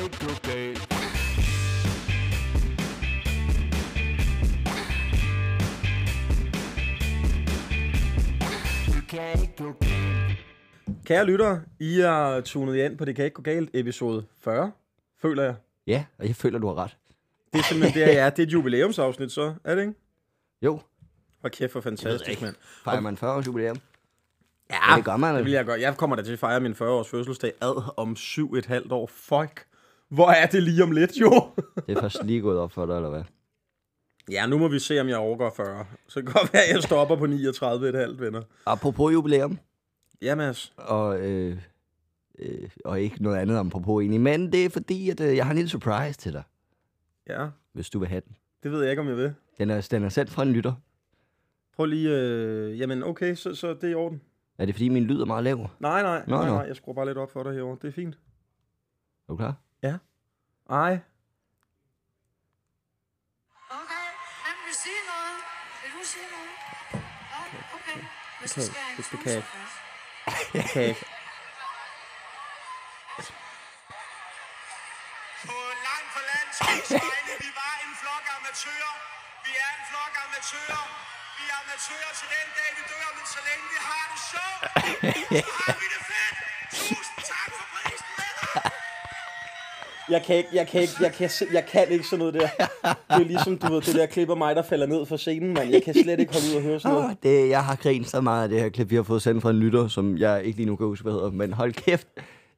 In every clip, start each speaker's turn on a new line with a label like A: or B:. A: ikke okay. Det kan ikke gå galt.
B: Kære lyttere, I er tunet ind på Det kan ikke gå galt, episode 40, føler jeg.
C: Ja, og jeg føler, du har ret.
B: Det er simpelthen det, jeg er. Det er et jubilæumsafsnit, så er det ikke?
C: Jo,
B: Og kæft, hvor fantastisk,
C: ikke.
B: mand.
C: fejrer man 40 års jubilæum. Ja, det gør man.
B: Det vil jeg godt. Jeg kommer da til at fejre min 40-års fødselsdag ad om syv et halvt år. Fuck. Hvor er det lige om lidt, jo?
C: Det er først lige gået op for dig, eller hvad?
B: Ja, nu må vi se, om jeg overgår 40. Så kan det godt være, at jeg stopper på 39 et halvt, venner.
C: Apropos jubilæum,
B: Ja, Mads.
C: og, øh, øh, og ikke noget andet om apropos egentlig, men det er fordi, at øh, jeg har en lille surprise til dig,
B: Ja,
C: hvis du vil have den.
B: det ved jeg ikke, om jeg vil.
C: Den er, den er sendt fra en lytter.
B: Prøv lige... Øh... Jamen, okay, så, så det er i orden.
C: Er det fordi, min lyd er meget lav?
B: Nej, nej,
C: Nå,
B: nej,
C: nå.
B: nej. Jeg skruer bare lidt op for dig herovre. Det er fint.
C: Er du klar?
B: Ej.
D: Okay, han vil sige noget. Vil du sige noget? Nej, Oh, okay. Men så
B: Okay,
D: skal jeg
B: det- det
D: ikke
B: kan jeg
D: snuse først.
B: Kan jeg ikke.
E: På langt på landsbygdsvegne, vi var en flok amatører. Vi er en flok amatører. Vi er amatører til den dag, vi dør, men så længe vi har det sjovt, så har vi det fedt. Tusind tak for prisen, venner.
B: Jeg kan ikke, jeg kan ikke, jeg kan, si- jeg kan ikke sådan noget der. Det er ligesom, du ved, det der klip af mig, der falder ned fra scenen, mand. Jeg kan slet ikke holde ud og høre sådan noget.
C: Åh, Ah, det, jeg har grinet så meget af det her klip, vi har fået sendt fra en lytter, som jeg ikke lige nu kan huske, hvad hedder, men hold kæft,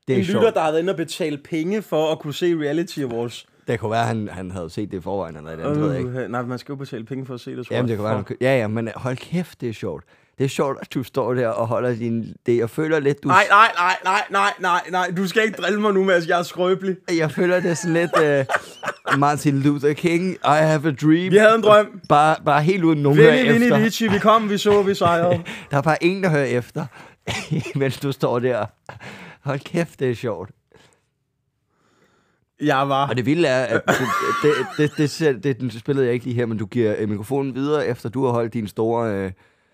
C: det er
B: En lytter,
C: sjovt.
B: der har været inde og betale penge for at kunne se Reality Awards.
C: Det kunne være, at han, han havde set det i forvejen, eller et andet, ved jeg ikke.
B: Øh, nej, man skal jo betale penge for at se det, tror
C: Jamen, det
B: jeg.
C: kan være,
B: Fuck.
C: du- ja, ja, men hold kæft, det er sjovt. Det er sjovt, at du står der og holder din... Det, jeg føler lidt, du...
B: Nej, nej, nej, nej, nej, nej, nej. Du skal ikke drille mig nu, Mads. Jeg er skrøbelig.
C: Jeg føler det er sådan lidt... Uh, Martin Luther King, I have a dream.
B: Vi havde en drøm.
C: Bare, bare helt uden nogen hører
B: Vini,
C: efter.
B: Vini, Vici, vi kom, vi så, vi sejrede.
C: Der er bare ingen, der hører efter, mens du står der. Hold kæft, det er sjovt.
B: Jeg var...
C: Og det vilde er, at du, det, det, det, ser- det, det spillede jeg ikke lige her, men du giver øh, mikrofonen videre, efter du har holdt din store... Øh,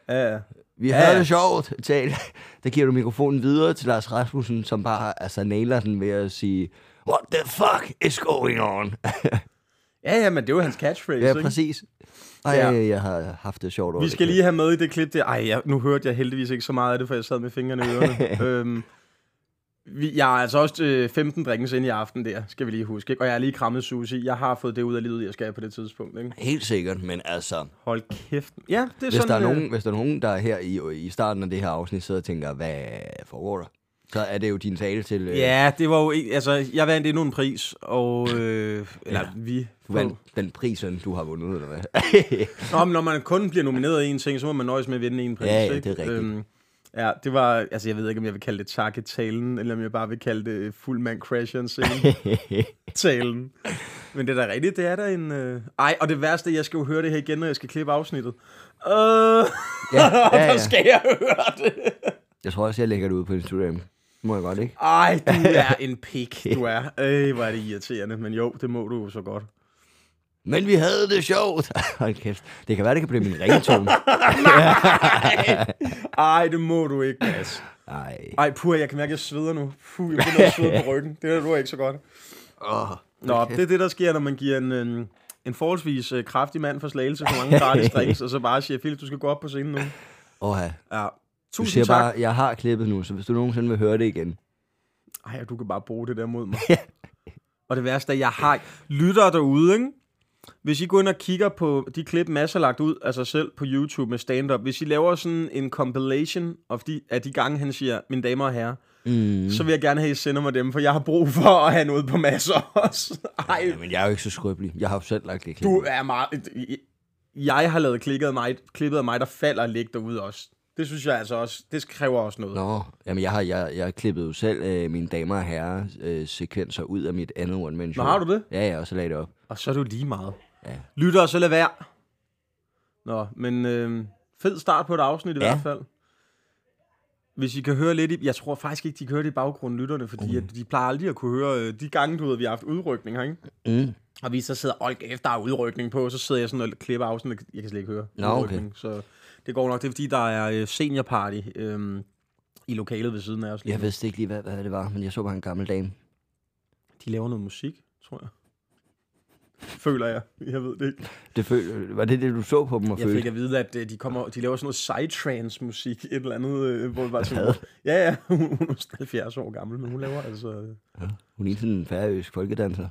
B: Ja, ja.
C: vi
B: Ja,
C: havde
B: ja.
C: det sjovt, tal. Der giver du mikrofonen videre til Lars Rasmussen, som bare altså, nailer den ved at sige, What the fuck is going on?
B: ja, ja, men det var hans catchphrase,
C: ja,
B: ikke?
C: præcis. Og
B: Ja.
C: ja. jeg, jeg har haft det sjovt over
B: Vi
C: det
B: skal
C: klip.
B: lige have med i det klip der. Ej, jeg, nu hørte jeg heldigvis ikke så meget af det, for jeg sad med fingrene i ørerne. øhm, vi, jeg er altså også øh, 15 drikkes ind i aften der, skal vi lige huske. Ikke? Og jeg har lige krammet sushi. Jeg har fået det ud af livet, jeg skal på det tidspunkt. Ikke?
C: Helt sikkert, men altså,
B: Hold kæft. Ja, det er
C: hvis
B: sådan...
C: der, er
B: øh,
C: nogen, hvis der er nogen, der er her i, i starten af det her afsnit, sidder og tænker, hvad foregår der? Så er det jo din tale til... Øh,
B: Ja, det var jo... ikke- Altså, jeg vandt endnu en pris, og... Øh, eller ja. vi...
C: Du vandt den pris, som du har vundet, eller hvad?
B: Nå, men når man kun bliver nomineret i en ting, så må man nøjes med at vinde en pris,
C: Ja, ja,
B: ikke?
C: det er rigtigt.
B: Øhm, ja, det var... Altså, jeg ved ikke, om jeg vil kalde det takketalen, eller om jeg bare vil kalde det øh, fuld man crasher talen. Men det er da rigtigt, det er der en... Øh... Ej, og det værste, er, jeg skal jo høre det her igen, når jeg skal klippe afsnittet. Øh, ja,
C: ja,
B: der
C: ja.
B: skal jeg høre det.
C: jeg tror også, jeg lægger det ud på Instagram. Må jeg godt, ikke?
B: Ej, du er en pik, du er. Øh, hvor er det irriterende, men jo, det må du jo så godt.
C: Men vi havde det sjovt. Hold kæft. Det kan være, det kan blive min ringetone.
B: Ej, det må du ikke, Mads.
C: Nej.
B: Ej, puh, jeg kan mærke, at jeg sveder nu. Puh, jeg begynder at svede på ryggen. Det der, du er ikke så godt.
C: Oh.
B: Nå, det er det, der sker, når man giver en, en, en forholdsvis øh, kraftig mand for slagelse for mange gratis drinks, og så bare siger, Philip, du skal gå op på scenen nu.
C: Åh, ja.
B: Ja.
C: Du
B: Tusind
C: siger
B: tak. Bare...
C: bare, jeg har klippet nu, så hvis du nogensinde vil høre det igen.
B: Ej, og du kan bare bruge det der mod mig. og det værste er, at jeg har lyttere derude, ikke? Hvis I går ind og kigger på de klip, masser lagt ud af sig selv på YouTube med stand-up, hvis I laver sådan en compilation af de, af de gange, han siger, mine damer og herrer,
C: Mm.
B: så vil jeg gerne have, at I sender mig dem, for jeg har brug for at have noget på masser også. Ej,
C: øh. Jamen, jeg er jo ikke så skrøbelig. Jeg har jo selv lagt det klip.
B: du er meget... Jeg har lavet klippet af mig, klippet af mig der falder og ligger derude også. Det synes jeg altså også, det kræver også noget.
C: Nå, jamen jeg har, jeg, jeg har klippet jo selv øh, mine damer og herrer øh, sekvenser ud af mit andet one man show.
B: har du det?
C: Ja, ja, og så lagde det op.
B: Og så er det jo lige meget.
C: Ja.
B: Lytter og så lad være. Nå, men øh, fed start på et afsnit i
C: Ja.
B: hvert fald. Hvis I kan høre lidt i... Jeg tror faktisk ikke, de kan høre det i baggrunden, lytterne, fordi at de plejer aldrig at kunne høre øh, de gange, du ved, vi har haft udrykninger, ikke?
C: Mm.
B: Og vi så sidder, hold kæft, der er udrykning på, så sidder jeg sådan og klipper afsnit, jeg kan slet ikke høre
C: Nå, okay.
B: udrykning, så det går nok. Det er fordi, der er øh, seniorparty øhm, i lokalet ved siden af os lige
C: Jeg
B: nu.
C: vidste ikke lige, hvad, hvad det var, men jeg så bare en gammel dame.
B: De laver noget musik, tror jeg. Føler jeg. Jeg ved det ikke.
C: Det føl, var det det, du så på dem og
B: Jeg fik
C: følte?
B: at vide, at øh, de, kommer, de laver sådan noget psytrance-musik, et eller andet, øh, hvor det var sådan, ja, ja, hun hun er sådan 70 år gammel, men hun laver altså... øh,
C: Hun er sådan en færøsk folkedanser.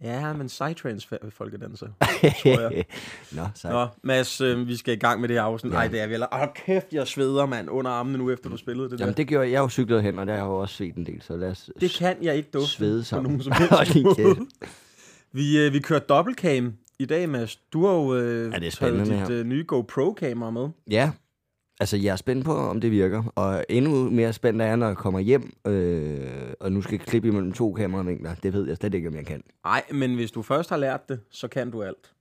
B: Ja, men psytrance-folkedanser.
C: Nå, sejt.
B: Nå, Mads, øh, vi skal i gang med det her afsnit. Nej, det er vi heller. Åh, kæft, jeg sveder, mand, under armene nu, efter du spillede det
C: Mm. Jamen,
B: der.
C: det gjorde jeg. Jeg har jo cyklet hen, og der har jeg jo også set en del, så lad os...
B: Det kan jeg ikke dufte
C: svede
B: på
C: sammen.
B: nogen som
C: Hold
B: helst
C: din kæft.
B: måde. Vi, øh, vi kører dobbeltcam i dag, Mads. Du har jo øh,
C: Ja, det er
B: taget
C: spændende,
B: dit
C: her.
B: øh, nye GoPro-kamera med.
C: Ja, altså jeg er spændt på, om det virker. Og endnu mere spændt er jeg, når jeg kommer hjem, øh, og nu skal jeg klippe imellem to kameramængder. Det ved jeg slet ikke, om jeg kan.
B: Nej, men hvis du først har lært det, så kan du alt.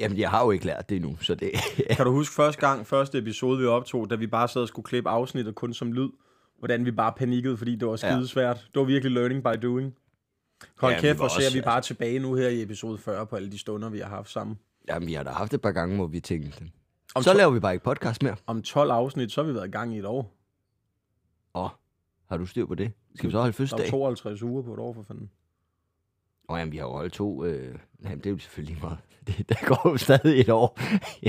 C: Jamen, jeg har jo ikke lært det endnu, så det...
B: Kan du huske første gang, første episode, vi optog, da vi bare sad og skulle klippe afsnittet kun som lyd? Hvordan vi bare panikkede, fordi det var
C: Ja.
B: skidesvært. Det var virkelig learning by doing. Hold
C: Ja,
B: ja,
C: vi
B: kæft,
C: var
B: hvor ser
C: også-
B: vi bare tilbage nu her i episode 40 på alle de stunder, vi har haft sammen.
C: Jamen, vi har da haft et par gange, hvor vi tænkte,
B: Om
C: så
B: to-
C: laver vi bare ikke podcast mere.
B: Om 12 afsnit, så har vi været i gang i et år.
C: Åh, har du styr på det? Skal vi så holde
B: Der er jo
C: fødselsdag? Åh,
B: 52 uger på et år, for fanden.
C: oh, jamen, vi har jo holdt to. Øh... Jamen, det er jo selvfølgelig lige meget. Det, der går jo stadig et år.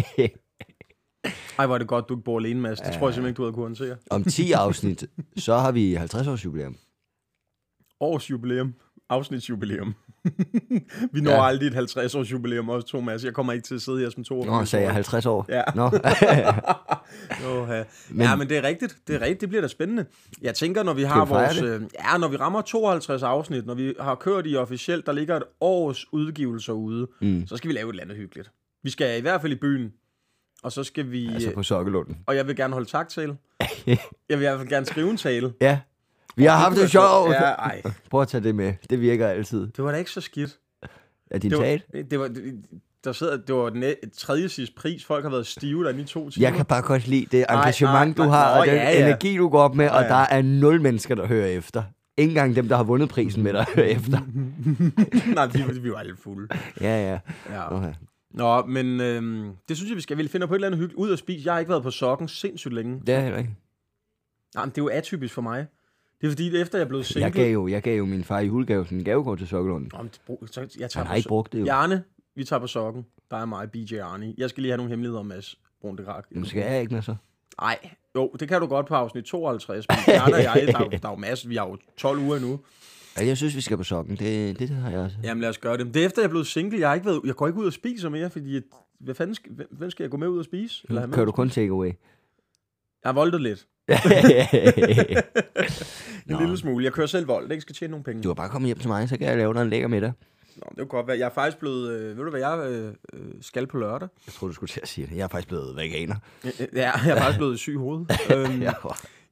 B: Ej, hvor er det godt, du ikke bor alene, Mads. Det tror jeg simpelthen ikke, du havde kunnet håndtere.
C: Om 10 afsnit, så har vi 50 års jubilæum.
B: Års jubilæum. Afsnitsjubilæum. vi når
C: Ja.
B: ja. aldrig et 50-års jubilæum også, Thomas. Jeg kommer ikke til at sidde her som to år.
C: Nå, sagde jeg 50 år.
B: Ja.
C: Nå.
B: Åh, ja. ja, men det er rigtigt. Det er rigtigt. Det bliver da spændende. Jeg tænker, når vi har
C: vi fejre
B: vores... Øh, ja, når vi rammer 52 afsnit, når vi har kørt i officielt, der ligger et års udgivelser ude, mm. så skal vi lave et eller andet hyggeligt. Vi skal i hvert fald i byen, og så skal vi...
C: altså
B: Altså
C: på sokkelunden.
B: Og jeg vil gerne holde taktale. jeg vil i hvert fald gerne skrive en tale.
C: Ja. Vi har haft det sjovt.
B: Ja, ej.
C: Prøv at tage det med. Det virker altid.
B: Det var da ikke så skidt.
C: Er din
B: Det var,
C: tale?
B: det var, det, der sidder, det var den næ- tredje sidste pris. Folk har været stive derinde i to timer.
C: Jeg kan bare godt lide det engagement,
B: nej,
C: du
B: nej.
C: har,
B: Nå,
C: og den
B: ja, ja.
C: energi, du går op med, og
B: Ja, ja.
C: der er nul mennesker, der hører efter. Ikke engang dem, der har vundet prisen med, der hører efter.
B: Nej, vi, vi var alle fulde.
C: Ja, ja.
B: Ja.
C: Okay.
B: Nå, men øhm, det synes jeg, vi skal vel finde på et eller andet hyggeligt. Ud og spise. Jeg har ikke været på sokken sindssygt længe.
C: Det er heller ikke.
B: Nej, men det er jo atypisk for mig. Det er fordi, efter jeg blev single...
C: Jeg gav, jo, jeg gav jo min far i julegave sådan en gavekort til Sokkelunden.
B: Nå, men det brug- så, jeg tager
C: Han
B: på
C: har ikke
B: so-
C: brugt det jo.
B: Bjarne, vi tager på sokken. Der er mig, BJ Arne. Jeg skal lige have nogle hemmeligheder om Mads Brun de Krak.
C: Nu skal jeg ikke med så.
B: Nej, jo, det kan du godt på afsnit 52. Men Bjarne og jeg, der, er jo- der er jo masser. Vi har jo 12 uger endnu.
C: Ja, jeg synes, vi skal på sokken. Det, det har jeg også.
B: Jamen lad os gøre det. Det er efter, jeg er blevet single. Jeg, har ikke været, jeg går ikke ud og spiser mere, fordi... at- Hvad fanden skal, hvem- hvem skal jeg gå med ud og spise? Eller have med?
C: Nu Mm, kører du kun takeaway.
B: Jeg har voldet lidt. En
C: Nå.
B: lille smule. Jeg kører selv vold. Det ikke skal tjene nogen penge.
C: Du har bare kommet hjem til mig, så kan jeg lave dig en lækker middag.
B: Nå, det kunne godt være. Jeg er faktisk blevet... Øh, ved du, hvad jeg øh, øh, skal på lørdag?
C: Jeg tror, du skulle til at sige det. Jeg er faktisk blevet veganer.
B: Øh, øh, Ja, jeg er faktisk blevet syg i hovedet. Øhm,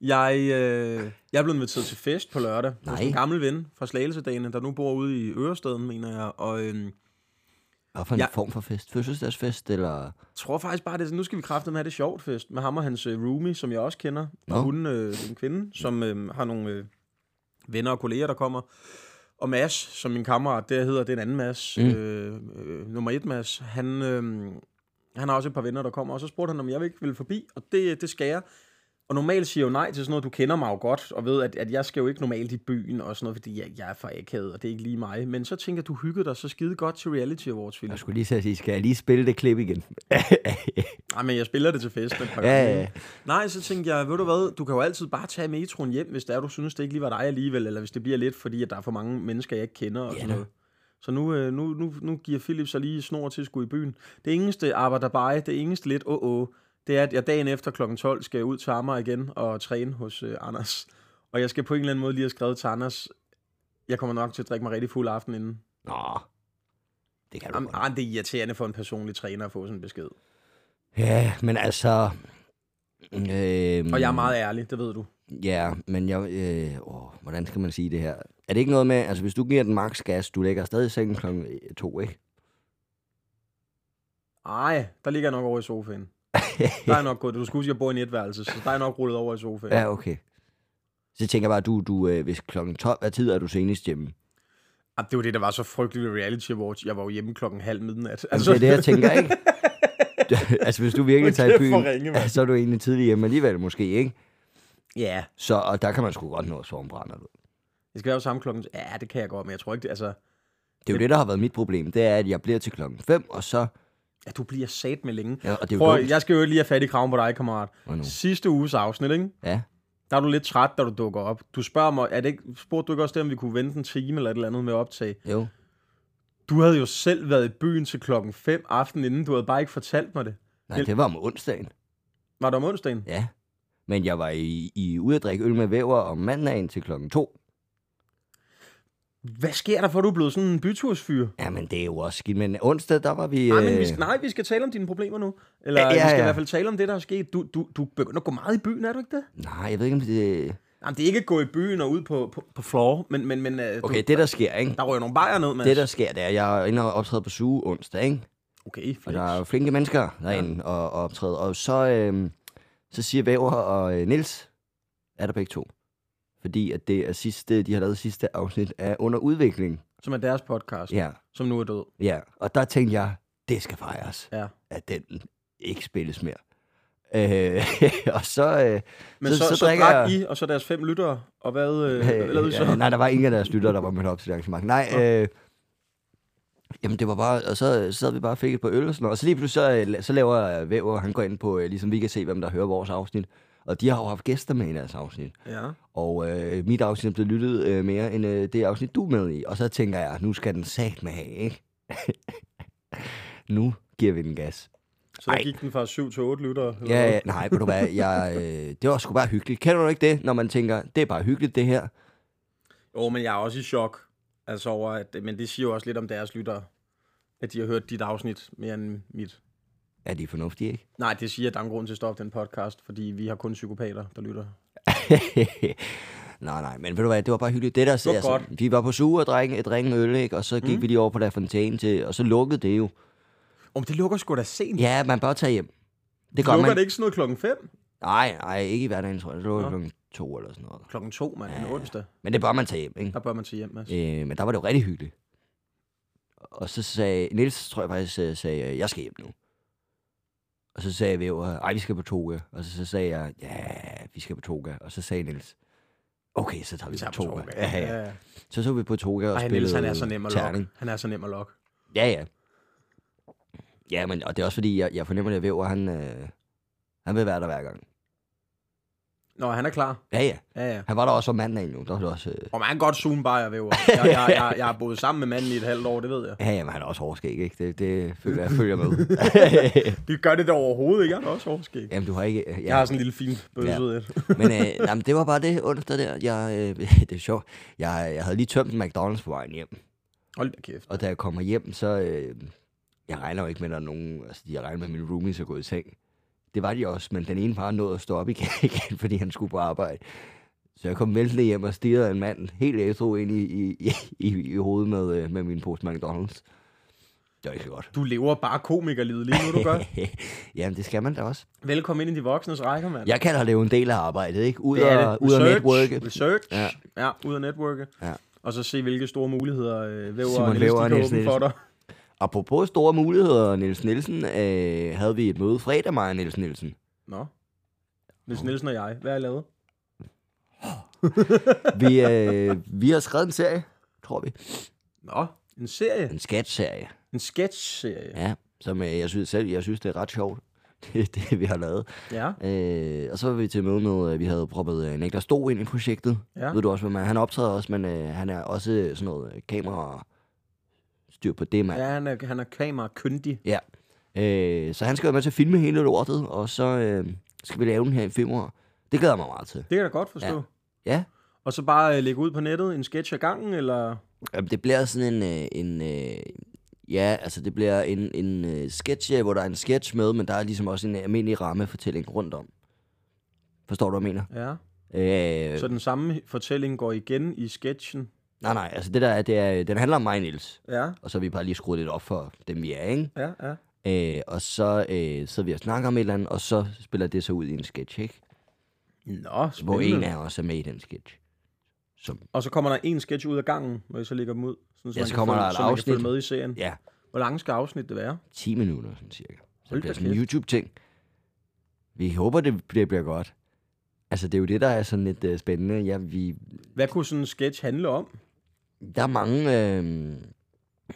C: Ja.
B: jeg, øh, jeg er blevet inviteret til fest på lørdag. Nej.
C: Nej.
B: en gammel ven fra Slagelsedagene, der nu bor ude i Ørestaden, mener jeg. Og øhm,
C: Hvad for en
B: Ja.
C: ja. form for fest? Fødselsdagsfest, eller...
B: tror faktisk bare, det er sådan, nu skal vi kraftigt med have det sjovt fest med ham og hans øh, roomie, som jeg også kender.
C: Nå.
B: Og hun øh, det er en kvinde, som øh, har nogle øh, venner og kolleger, der kommer. Og Mads, som min kammerat, der hedder den anden Mads, mm. øh, øh, nummer et Mads, han, øh, han har også et par venner, der kommer. Og så spurgte han, om jeg ikke ville forbi, og det, det skal jeg. Og normalt siger jeg jo nej til sådan noget, du kender mig jo godt, og ved, at, at jeg skal jo ikke normalt i byen og sådan noget, fordi jeg, jeg er for akavet, og det er ikke lige mig. Men så tænker jeg, du hyggede dig så skide godt til Reality Awards, Philip.
C: Jeg skulle lige til at sige, skal jeg lige spille det klip igen?
B: Nej, Ah, men jeg spiller det til festen et par
C: Ja,
B: gange.
C: ja.
B: Nej, så tænkte jeg, ved du hvad, du kan jo altid bare tage metroen hjem, hvis det er, du synes, det ikke lige var dig alligevel, eller hvis det bliver lidt, fordi at der er for mange mennesker, jeg ikke kender og
C: Ja,
B: sådan
C: da.
B: noget. Så nu, øh, nu, nu, nu giver Philip sig lige snor til at skulle i byen. Det eneste arbejder bare, det eneste lidt åh åh, det er, at jeg dagen efter kl. 12 skal ud til Amager igen og træne hos øh, Anders. Og jeg skal på en eller anden måde lige have skrevet til Anders, jeg kommer nok til at drikke mig rigtig fuld aften inden.
C: Nå, det kan du
B: Jamen,
C: godt.
B: ah, det er irriterende for en personlig træner at få sådan en besked.
C: Ja, men altså... Øhm,
B: Og jeg er meget ærlig, det ved du.
C: Ja, men jeg... Øh, åh, hvordan skal man sige det her? Er det ikke noget med, altså hvis du giver den max gas, du lægger stadig i sengen klokken øh, to, ikke?
B: Ej, der ligger jeg nok over i sofaen. Der er nok gået. Du skulle huske, jeg bor i netværelse, så der er nok rullet over i sofaen.
C: ja, okay. Så tænker jeg bare, du, du øh, hvis klokken 12, hvad tid er du senest hjemme?
B: Ah, Det var det, der var så frygteligt ved Reality Awards. Jeg var jo hjemme klokken halv midnat.
C: Altså... Det er det, jeg tænker, ikke? altså, hvis du virkelig
B: Hold
C: tager i
B: kæft, hvor
C: byen,
B: ringe, mand.
C: så er du egentlig tidlig hjemme alligevel, måske, ikke?
B: Ja.
C: Så, og der kan man sgu godt nå at sove om brænder, du.
B: Det skal være jo samme klokken. Ja, det kan jeg godt, men jeg tror ikke det. Altså,
C: Det er jo det, der har været mit problem. Det er, at jeg bliver til klokken 5, og så...
B: ja, du bliver sat med længe.
C: Ja, og det er jo
B: Prøv, at-
C: dumt.
B: jeg skal jo lige have fat i kraven på dig, kammerat.
C: Hvad nu?
B: Sidste uges afsnit, ikke?
C: Ja.
B: Der er du lidt træt, da du dukker op. Du spørger mig, er det ikke, spurgte du ikke også det, om vi kunne vente en time eller et eller andet med optag?
C: Jo.
B: Du havde jo selv været i byen til klokken 5 aften inden. Du havde bare ikke fortalt mig det.
C: Nej, det var om onsdagen.
B: Var det om onsdagen?
C: Ja. Men jeg var i, i ude at drikke øl med væver om mandagen til klokken 2.
B: Hvad sker der for, at du er blevet sådan en bytursfyr?
C: Jamen, det er jo også skidt. Men onsdag, der var vi...
B: Nej, men vi
C: øh,
B: skal, nej, vi skal tale om dine problemer nu. Eller ja,
C: Ja,
B: ja,
C: ja,
B: vi skal i
C: ja.
B: hvert fald tale om det, der er sket. Du, du, du begynder at gå meget i byen, er du ikke det?
C: Nej, jeg ved ikke, om det...
B: Jamen, det er ikke at gå i byen og ud på, på, på floor, men, men, men øh,
C: Okay,
B: du,
C: det der sker, ikke?
B: der rører nogle bajer ned, Mads.
C: Det der sker, det er, at jeg er inde og optræde på suge onsdag, ikke?
B: Okay,
C: Og
B: flex.
C: der er jo flinke mennesker derinde og, og optræde. Og så, øhm, så siger Væver og øh, Nils, er der begge to. Fordi at det er sidste, de har lavet sidste afsnit af Under Udvikling.
B: Som er deres podcast, ja.
C: Ja,
B: som nu er død.
C: ja. Og der tænkte jeg, det skal fejres,
B: Ja.
C: at den ikke spilles mere. Øh, og så, øh,
B: Men så, så, så, så
C: drikker
B: drak
C: jeg-
B: I, og så deres fem lyttere, og hvad øh, hvad lavede I så?
C: Øh, nej, der var ingen af deres lyttere, der var mødt op til det arrangement. Nej, øh, jamen det var bare, og så øh, sad vi bare og fik et par øl og sådan noget. Og så lige pludselig, så, øh, så laver øh, Væver, han går ind på, øh, ligesom vi kan se, hvem der hører vores afsnit. Og de har jo haft gæster med i deres afsnit.
B: Ja.
C: Og øh, mit afsnit er blevet lyttet øh, mere end øh, det afsnit, du er med i. Og så tænker jeg, nu skal den sat med have, ikke? nu giver vi den gas.
B: Så der
C: Ej.
B: gik den fra 7 til 8 lyttere? eller
C: Ja,
B: hvad?
C: ja, nej, ved du hvad, jeg, øh, det var sgu bare hyggeligt. Kender du ikke det, når man tænker, det er bare hyggeligt det her?
B: Jo, men jeg er også i chok. Altså over, at, men det siger jo også lidt om deres lyttere, at de har hørt dit afsnit mere end mit.
C: Er de fornuftige, ikke?
B: Nej, det siger, at der er en grund til at stoppe den podcast, fordi vi har kun psykopater, der lytter.
C: nej, nej, men ved du hvad, det var bare hyggeligt. Det der, det
B: var godt.
C: vi var på suge og drikke, drikke en øl, ikke? og så gik mm. vi lige over på La Fontaine til, og så lukkede det jo.
B: Om det lukker sgu da sent.
C: Ja, man bør tage hjem. Det gør
B: lukker
C: man.
B: det ikke sådan noget klokken 5?
C: Nej, nej, ikke i hverdagen, tror jeg. Det lukker klokken to eller sådan noget.
B: Klokken 2, mand, en onsdag.
C: Men det bør man tage hjem, ikke?
B: Der bør man sige hjem, Mads.
C: Øh, men der var det jo rigtig hyggeligt. Og så sagde, Niels tror jeg faktisk, øh, sagde, øh, jeg skal hjem nu. Og så sagde Væver, ej, vi skal på toga. Og så, så sagde jeg, ja, vi skal på toga. Og så sagde Niels, okay, så tager vi,
B: Vi tager
C: på toga.
B: Ja, ja, ja.
C: Så så vi på Toga og
B: Ej,
C: spillede
B: Niels, han er så nem at lokke.
C: terning.
B: Han er så nem at lokke.
C: Ja, ja. Ja, men, og det er også fordi, jeg, jeg fornemmer, at Væver, han, øh, han vil være der hver gang.
B: Nå, han er klar.
C: Ja, ja.
B: Ja, ja.
C: Han var der også om mandagen nu. Der var det også, øh,
B: Og man kan godt zoome bare, jeg væver. Jeg, jeg, jeg, jeg har boet sammen med manden i et halvt år, det ved jeg.
C: ja, ja, men han er også hårdskæg, ikke? Det, det føler jeg følger med.
B: Det gør det da overhovedet ikke. Jeg er da også overskæg.
C: Jamen, du har ikke... øh, Ja.
B: Jeg har sådan en lille fin bøsset. Ja.
C: Men øh, jamen, det var bare det onsdag der. Jeg, øh, det er sjovt. Jeg, jeg havde lige tømt en McDonald's på vejen hjem.
B: Hold da kæft.
C: Og da jeg kommer hjem, så... Øh, jeg regner jo ikke med, at der er nogen... Altså, jeg regner med, at mine roomies er gået i seng. Det var de også, men den ene var nået at stå op igen, igen fordi han skulle på arbejde. Så jeg kom væltende hjem og stirrede en mand helt ædru ind i, i, i, i, i hovedet med, øh, med min pose McDonald's. Det var ikke så godt.
B: Du lever bare komikerlivet lige nu, du gør.
C: Jamen, det skal man da også.
B: Velkommen ind i de voksnes rækker, mand.
C: Jeg kalder det jo en del af arbejdet, ikke? Ud,
B: det er
C: og,
B: det.
C: ud af
B: Research,
C: netværket.
B: Research. Ja.
C: Ja.
B: ja, ud af netværket.
C: Ja.
B: Og så se, hvilke store muligheder øh, Væver
C: Simon
B: og Niels,
C: Væver og
B: de kan
C: Niels
B: åbne for
C: Nielsen.
B: dig.
C: Apropos store muligheder, Niels Nielsen, øh, havde vi et møde fredag, mig og Niels Nielsen.
B: Nå. Niels Nielsen og jeg, hvad har I lavet?
C: Vi, øh, vi har skrevet en serie, tror vi.
B: Nå, en serie.
C: En sketchserie,
B: En sketch-serie.
C: ja, som øh, jeg synes selv, jeg synes, det er ret sjovt, det, det vi har lavet.
B: Ja.
C: Øh, og så var vi til møde med, at vi havde proppet øh, Nektar Sto ind i projektet.
B: Ja.
C: Ved du også, hvem han er? Han optræder også, men øh, han er også øh, sådan noget øh, kamera og styr på det, mand.
B: Ja, han er, han er kamerakyndig.
C: Ja. Øh, så han skal være med til at filme hele lortet, og så øh, skal vi lave den her i februar. Det glæder jeg mig meget til.
B: Det kan jeg da godt forstå. Ja.
C: Ja,
B: Og så bare øh, lægge ud på nettet en sketch ad gangen, eller...
C: Jamen, det bliver sådan en, øh, en øh, ja, altså det bliver en, en øh, sketch, ja, hvor der er en sketch med, men der er ligesom også en almindelig rammefortælling rundt om. Forstår du, hvad jeg
B: Ja.
C: mener? Øh,
B: Så den samme fortælling går igen i sketchen.
C: nej, nej, altså det der er, det er, den handler om mig, Niels.
B: Ja,
C: Og så har vi bare lige skruet lidt op for dem, vi er, ikke?
B: ja, ja.
C: Øh, og så øh, sidder vi og snakker om et eller andet, og så spiller det så ud i en sketch, ikke?
B: Nå, spændende.
C: Hvor en af os er med i den sketch. Som,
B: Og så kommer der en sketch ud af gangen, hvor I så lægger dem ud. Sådan,
C: Ja,
B: man
C: så
B: kan
C: kommer
B: følge-
C: der et
B: så man kan
C: afsnit.
B: følge med i serien.
C: ja,
B: Hvor lang skal afsnit det være?
C: 10 minutter, sådan cirka. Så
B: Hold
C: det
B: da
C: bliver sådan en
B: kæft.
C: YouTube-ting. Vi håber, det, det bliver godt. Altså, det er jo det, der er sådan lidt øh, spændende. Ja, vi,
B: Hvad kunne sådan en sketch handle om?
C: der er mange... Øh,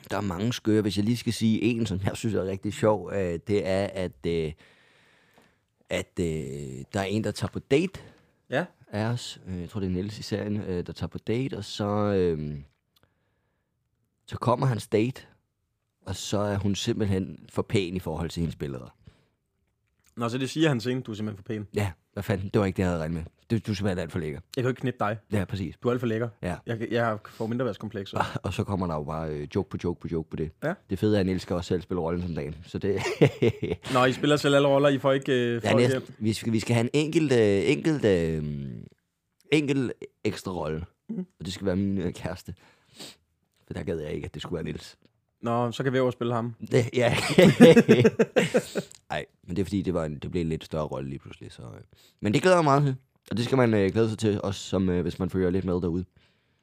C: der er mange skøre. Hvis jeg lige skal sige en, som jeg synes er rigtig sjov, øh, det er, at, øh, at øh, der er en, der tager på date
B: Ja,
C: af os. Øh, Jeg tror, det er Niels i serien, øh, der tager på date, og så, øh, så kommer hans date, og så er hun simpelthen for pæn i forhold til hendes billeder.
B: Nå, så det siger han senere, du er simpelthen for pæn.
C: Ja, hvad fanden, det var ikke det, jeg havde regnet med. Du, du er simpelthen alt for lækker.
B: Jeg kan jo ikke knippe dig.
C: Ja, præcis.
B: Du er alt for lækker.
C: Ja.
B: Jeg, jeg får mindreværdskomplekser.
C: Og så kommer der jo bare øh, joke på joke på joke på det.
B: Ja.
C: Det fede er, at Niels skal også selv spille rollen som dame. Så det...
B: Nå, I spiller selv alle roller, I får ikke øh,
C: ja,
B: folk hjem.
C: næsten, vi, skal, vi skal have en enkelt, øh, enkelt, øh, enkelt ekstra rolle. Mm. Og det skal være min øh, kæreste. For der gad jeg ikke, at det skulle være Niels.
B: Nå, så kan vi spille ham.
C: Det, ja. Nej, men det er fordi, det, var en, det blev en lidt større rolle lige pludselig. Så, øh. Men det glæder jeg mig meget til. Og det skal man øh, glæde sig til, også som, øh, hvis man følger lidt med derude.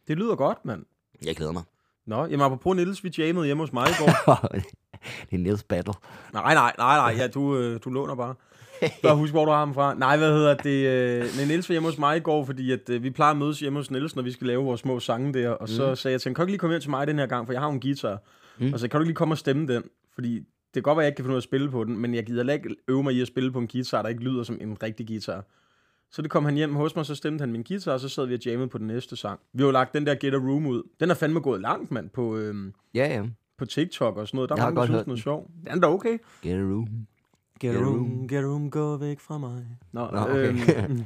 B: Det lyder godt, mand.
C: Jeg glæder mig.
B: Nå, jamen apropos Niels, vi jammede hjemme hos mig i går.
C: det er Niels Battle.
B: nej, nej, nej, nej, ja, du, øh, du låner bare. Bare husk, hvor du har ham fra. Nej, hvad hedder det? Øh, men Niels var hjemme hos mig i går, fordi at, øh, vi plejer at mødes hjemme hos Niels, når vi skal lave vores små sange der. Og
C: Mm.
B: så sagde jeg til ham, kan du ikke lige komme hjem til mig den her gang, for jeg har jo en guitar. Mm. Og så kan du ikke lige komme og stemme den, fordi det kan godt være, at jeg ikke kan finde ud af at spille på den, men jeg gider heller ikke øve mig i at spille på en guitar, der ikke lyder som en rigtig guitar. Så det kom han hjem hos mig, så stemte han min guitar, og så sad vi og jammede på den næste sang. Vi har jo lagt den der Get a Room ud. Den har fandme gået langt, mand, på, øhm,
C: Ja, ja.
B: på TikTok og sådan noget. Der
C: Jeg
B: er
C: har
B: mange, der
C: godt
B: synes,
C: hørt
B: den er sjov. Den er da okay.
C: Get a room.
B: Get
C: a room,
B: get a room, gå væk fra mig. Nå,
C: Nå, okay.
B: øhm,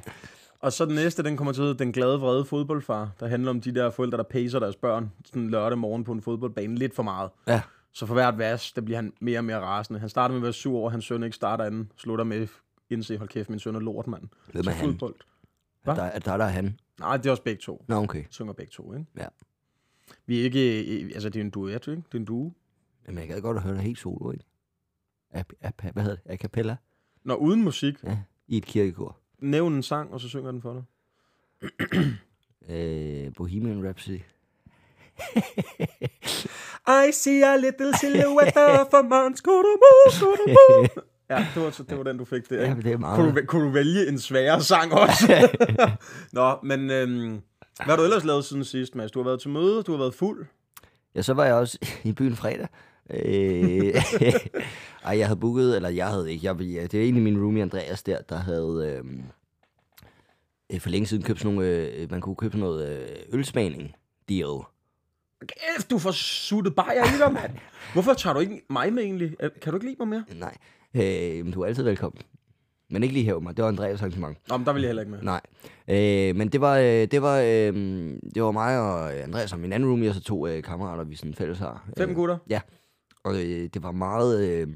B: og så den næste, den kommer til at hedde Den Glade Vrede Fodboldfar, der handler om de der forældre, der pacer deres børn sådan lørdag morgen på en fodboldbane lidt for meget.
C: Ja.
B: Så for hvert vers, der bliver han mere og mere rasende. Han starter med at være sur over, at hans søn ikke starter anden, slutter med indse, hold kæft, min søn er lort, mand.
C: Hvem
B: Så
C: er han?
B: Fodbold. Hva?
C: Der, der, der er der han.
B: Nej, det er også begge to.
C: Nå, okay.
B: Synger begge to, ikke?
C: Ja.
B: Vi er ikke, øh, altså det er en duet, ikke? Det er en duo.
C: Jamen, jeg gad godt at høre dig helt solo, ikke? A, a, a, hvad hedder det? A cappella?
B: Når uden musik,
C: Ja. I et kirkekor.
B: nævn en sang, og så synger den for dig.
C: Øh, Bohemian Rhapsody.
B: I see a little silhouette of a man. Skudubu, skudubu. Ja, det var, så- det var den, du fik der.
C: Ja,
B: ikke?
C: men det er meget.
B: Kunne du, væ- kunne du vælge en sværere sang også? Nå, men øhm, hvad har du ellers lavet siden sidst, Mads? Du har været til møde, du har været fuld.
C: Ja, så var jeg også i byen fredag. Øh, ej, jeg havde booket, eller jeg havde ikke. Jeg, jeg, det er egentlig min roomie Andreas der, der havde øhm, øh, for længe siden købt sådan nogle, øh, man kunne købe sådan noget øh, ølsmagning deal.
B: Kæft, du får suttet bajer i dig, mand. Hvorfor tager du ikke mig med egentlig? Øh, Kan du ikke lide mig mere?
C: Nej, øh, men du er altid velkommen. Men ikke lige her mig. Det var Andreas arrangement.
B: Nå, men der vil jeg heller ikke med.
C: Nej. Øh, men det var, øh, det, var, øh, det var mig og Andreas og min anden roomie, og så to øh, kammerater, vi sådan fælles har.
B: Fem
C: Øh,
B: gutter.
C: Ja, og øh, det var meget øh,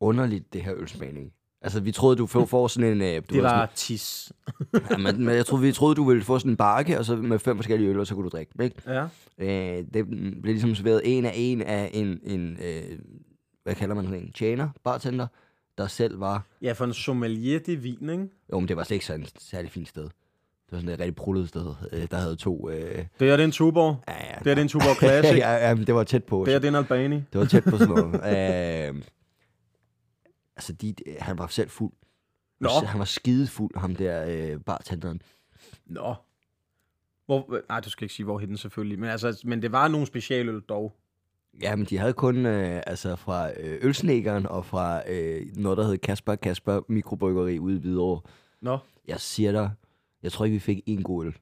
C: underligt, det her ølsmagning. Altså, vi troede, du får, får sådan en... Øh, du
B: Det
C: ved,
B: var tis.
C: Sådan, ja, men, men jeg troede, vi troede, du ville få sådan en bakke, og så med fem forskellige øl, og så kunne du drikke dem, ikke?
B: Ja.
C: Øh, det mm, blev ligesom serveret en af en af en... en øh, hvad kalder man sådan en? Tjener? Bartender? Der selv var...
B: ja, for en sommelier, det er vin, ikke?
C: Jo, men det var slet ikke sådan et særlig fint sted. Det var sådan et rigtig prullet sted, øh, der havde to... Øh,
B: Det er den Tuborg.
C: ja, ja,
B: Det er den Tuborg Classic.
C: ja, ja, men det var tæt på.
B: Det er den Albani.
C: Det var tæt på sådan noget. øh, altså, de, han var selv fuld.
B: Nå.
C: Han var skidefuld, ham der øh, bartenderen.
B: Nå. Hvor, nej, du skal ikke sige, hvor den selvfølgelig. Men, altså, men det var nogle specialøl dog.
C: Ja, men de havde kun øh, altså fra øh, ølsnekeren og fra øh, noget, der hed Kasper Kasper Mikrobryggeri ude i Hvidovre.
B: Nå.
C: Jeg siger dig, jeg tror ikke, vi fik en god øl.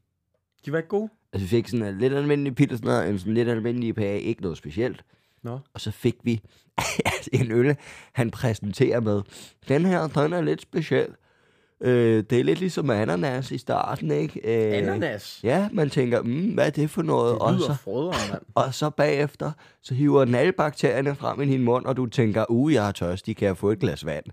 B: De var ikke gode?
C: Altså, vi fik sådan en lidt almindelig pilsner, en sådan lidt almindelig IPA, ikke noget specielt.
B: Nå.
C: Og så fik vi en øl, han præsenterer med. Den her, den er lidt speciel. Øh, det er lidt ligesom ananas i starten, ikke? Øh,
B: Ananas?
C: Ja, man tænker, mm, hvad er det for noget?
B: Det
C: og,
B: lyder
C: så,
B: frødere, mand.
C: og så bagefter, så hiver den alle bakterierne frem i din mund, og du tænker, uh, jeg er tørstig, kan jeg få et glas vand?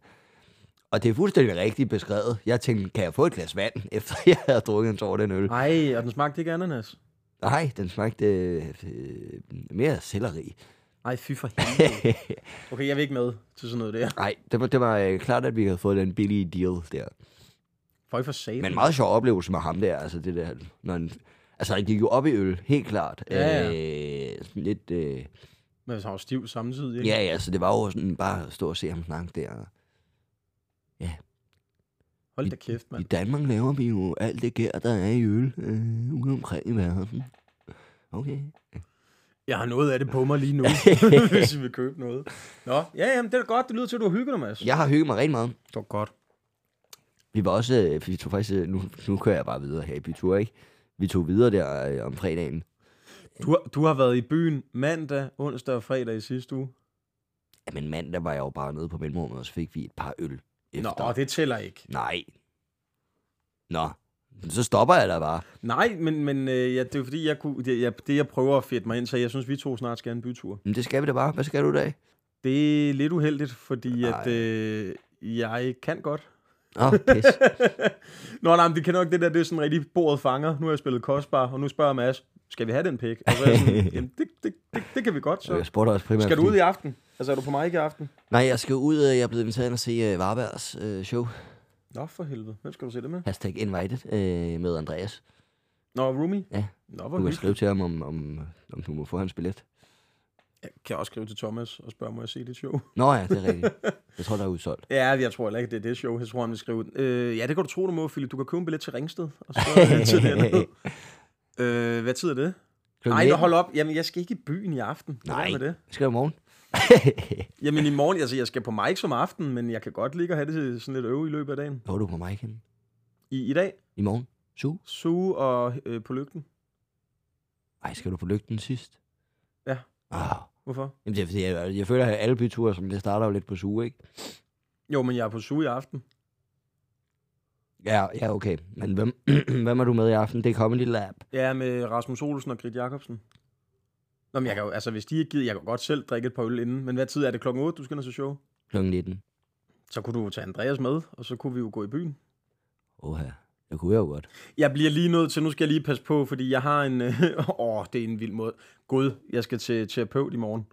C: Og det er fuldstændig rigtigt beskrevet. Jeg tænkte, kan jeg få et glas vand, efter jeg havde drukket en tår af den øl?
B: Ej, og den smagte ikke ananas.
C: Nej, den smagte øh, øh, mere af selleri.
B: Ej, fy for helvede. Okay, jeg vil ikke med til sådan noget der.
C: Nej, det var, det var øh, klart, at vi havde fået den billige deal der.
B: For for satan.
C: Men meget sjov oplevelse med ham der, altså det der, når han, altså han gik jo op i øl, helt klart.
B: Ja,
C: Øh, sådan lidt, øh,
B: Men hvis han var stiv samtidig, ikke?
C: ja, ja, så det var jo sådan bare at stå og se ham snakke der.
B: Hold da kæft,
C: I
B: mand.
C: Danmark laver vi jo alt det gær, der er i øl, øh, ude omkring i verden. Okay.
B: Jeg har noget af det på mig lige nu, hvis I vil købe noget. Nå, ja, jamen, det er da godt. Det lyder til, at du har hygget dig, Mads.
C: Jeg har hygget mig rigtig meget.
B: Det var godt.
C: Vi var også, øh, vi tog faktisk, øh, nu, nu kører jeg bare videre her i bytur, ikke? Vi tog videre der øh, om fredagen.
B: Du har, du har været i byen mandag, onsdag og fredag i sidste uge.
C: Men mandag var jeg jo bare nede på mellemrummet, og så fik vi et par øl efter.
B: Nå, det tæller ikke.
C: Nej. Nå, men så stopper jeg da bare.
B: Nej, men, men øh, ja, det er jo fordi, jeg kunne, det, jeg, det jeg prøver at fedte mig ind, så jeg synes, vi to snart skal have en bytur.
C: Men det skal vi da bare. Hvad skal du i dag?
B: Det er lidt uheldigt, fordi Ej. at
C: Ej.
B: øh, jeg kan godt.
C: Åh, oh, pis.
B: Nå, nej, men det kan nok det der, det er sådan rigtig bordet fanger. Nu har jeg spillet kostbar, og nu spørger Mads, skal vi have den pik? Og så er jeg sådan, Jamen, det, det, det, det kan vi godt,
C: Så jeg
B: så.
C: spurgte også primært.
B: Skal du
C: fordi-
B: ud i aften? Altså, er du på mig i aften?
C: Nej, jeg skal ud. øh, Jeg er blevet inviteret ind og se uh, Varbergs uh, show.
B: Nå, for helvede. Hvem skal du se det med?
C: Hashtag invited uh, med Andreas.
B: Nå, Rumi?
C: Ja.
B: Nå, hvor
C: Du kan
B: hyggeligt.
C: skrive til ham, om, om, om du må få hans billet.
B: Jeg kan også skrive til Thomas og spørge, må jeg se dit show?
C: Nå ja, det er rigtigt. Jeg tror, der er udsolgt.
B: Ja, jeg tror heller ikke, det er det show, jeg tror, han vil skrive. Øh, ja, det kan du tro, du må, Philip. Du kan købe en billet til Ringsted, og så øh, til det andet. Øh, hvad tid er det? Nej,
C: nitten.
B: hold op. Jamen, jeg skal ikke i byen i aften. Hvad
C: Nej,
B: er Med det?
C: skal du i morgen?
B: Jamen, i morgen, altså, jeg skal på mig som aften, men jeg kan godt ligge og have det sådan lidt øve i løbet af dagen.
C: Hvor er du på mig igen?
B: I, i dag,
C: I morgen? Su?
B: suge og øh, på lygten.
C: Ej, skal du på lygten sidst?
B: Ja.
C: Ah,
B: Hvorfor?
C: jamen det er, fordi jeg, jeg føler, at alle byture, som det starter jo lidt på suge, ikke?
B: Jo, men jeg er på suge i aften.
C: Ja, ja, okay. Men hvem, hvem er du med i aften? Det er Comedy Lab.
B: Jeg er med Rasmus Olsen og Grit Jacobsen. Nå, men jeg kan jo, altså, hvis de ikke gider, jeg kan godt selv drikke et par øl inden. Men hvad tid er det? Klokken 8, du skal ned til show?
C: Kl. 19.
B: Så kunne du jo tage Andreas med, og så kunne vi jo gå i byen.
C: Åh, ja. Det kunne jeg jo godt.
B: Jeg bliver lige nødt til, nu skal jeg lige passe på, fordi jeg har en, øh, åh, det er en vild måde. Gud, jeg skal til terapeut i morgen.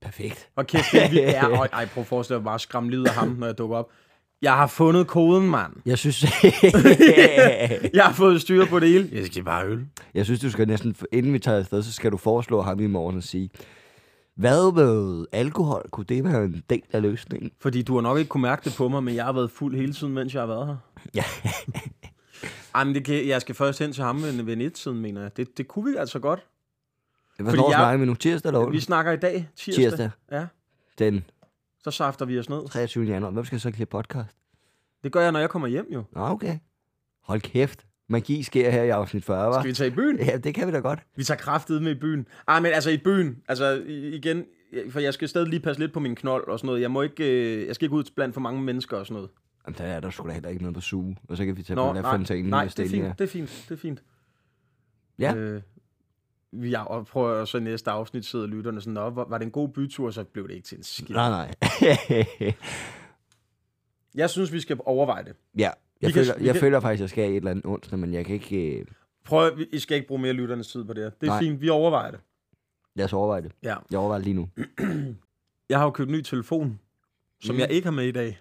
C: Perfekt.
B: Og kæft, det er vildt. Ja, og, ej, prøv at forestille dig bare skræmme livet af ham, når jeg dukker op. Jeg har fundet koden, mand.
C: Jeg synes,
B: Jeg har fået styr på det hele. Jeg skal bare øl.
C: jeg synes, du skal næsten, inden vi tager afsted, så skal du foreslå ham i morgen og sige, hvad med alkohol? Kunne det være en del af løsningen?
B: Fordi du har nok ikke kunne mærke det på mig, men jeg har været fuld hele tiden, mens jeg har været her.
C: Ja.
B: Ej, men det kan, jeg skal først hen til ham ved, ved nettiden, mener jeg. Det, det kunne vi altså godt.
C: Hvornår
B: jeg-
C: snakker vi nu? Tirsdag eller
B: Vi
C: onsdag?
B: snakker i dag, tirsdag.
C: Tirsdag.
B: Ja,
C: Den
B: så safter vi os ned.
C: 23. januar. Hvem skal så klippe podcast?
B: Det gør jeg, når jeg kommer hjem, jo.
C: Nå, okay. Hold kæft. Magi sker her i afsnit 40, hva'?
B: Skal vi tage i byen?
C: Ja, det kan vi da godt.
B: Vi tager kraftet med i byen. Ah, men altså i byen. Altså i- igen, for jeg skal stadig lige passe lidt på min knold og sådan noget. Jeg, må ikke, øh, jeg skal ikke ud blandt for mange mennesker og sådan noget.
C: Jamen, der er der sgu da heller ikke noget på suge. Og så kan vi tage Nå, på Lafontaine
B: nej,
C: med
B: det er
C: Stelia.
B: fint, det er fint, det er fint.
C: Ja.
B: Øh, vi er, og prøver så i næste afsnit sidder lytterne sådan, Nå, var, var det en god bytur, så blev det ikke til en skid.
C: Nej, nej.
B: Jeg synes, vi skal overveje det.
C: ja, jeg,
B: Vi kan-
C: føler,
B: vi
C: jeg
B: kan-
C: føler faktisk, at jeg skal i et eller andet onsdag, men jeg kan ikke... Øh,
B: Prøv at, I skal ikke bruge mere lytternes tid på det her. Det er
C: Nej.
B: fint, vi overvejer det.
C: lad os overveje det.
B: Ja.
C: Jeg overvejer det lige nu.
B: Jeg har jo købt en ny telefon, som mm. jeg ikke har med i dag.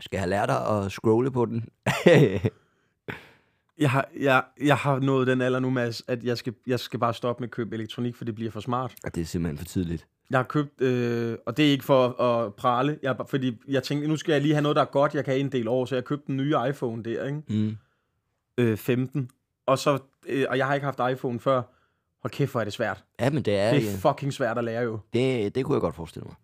C: Skal jeg lære dig at scrolle på den?
B: Jeg har, jeg, jeg har nået den alder nu, Mads, at jeg skal, jeg skal bare stoppe med at købe elektronik, for det bliver for smart.
C: Og det er simpelthen for tidligt.
B: Jeg har købt, øh, og det er ikke for at, at prale, jeg, er bare- fordi jeg tænkte, nu skal jeg lige have noget, der er godt, jeg kan have en del år, så jeg købte den nye iPhone der, ikke?
C: Mm.
B: Øh, 15. Og, så, øh, og jeg har ikke haft iPhone før. Hold kæft, hvor er det svært.
C: Ja, men det er...
B: Det
C: ja.
B: er fucking svært at lære jo.
C: det, det kunne jeg godt forestille mig.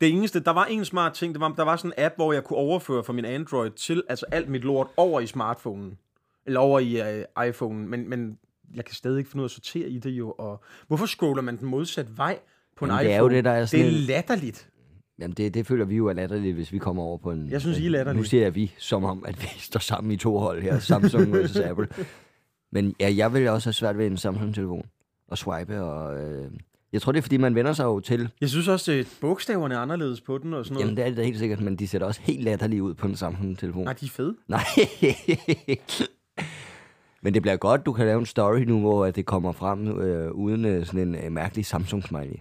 B: Det eneste, der var en smart ting, det var, der var sådan en app, hvor jeg kunne overføre fra min Android til, altså alt mit lort over i smartphonen. Eller over i øh, iPhonen, men, men jeg kan stadig ikke finde ud af at sortere i det jo. Og hvorfor scroller man den modsatte vej på en
C: Jamen,
B: iPhone?
C: det er jo det, der er sådan
B: Det er
C: en-
B: latterligt.
C: Jamen, det, det føler vi jo er latterligt, hvis vi kommer over på en...
B: Jeg synes, I er
C: øh,
B: latterlige.
C: Nu siger jeg vi, som om, at vi står sammen i to hold her, Samsung vs. Apple. Men ja, jeg vil også have svært ved en Samsung-telefon og swipe, og... Øh, jeg tror, det er, fordi man vender sig jo til...
B: Jeg synes også, at bogstaverne er anderledes på den og sådan noget.
C: Jamen, det er det da helt sikkert, men de ser da også helt latterlige ud på en Samsung-telefon.
B: Nej, de er fede.
C: Nej. Men det bliver godt, du kan lave en story nu, hvor at det kommer frem øh, uden øh, sådan en øh, mærkelig Samsung-smiley.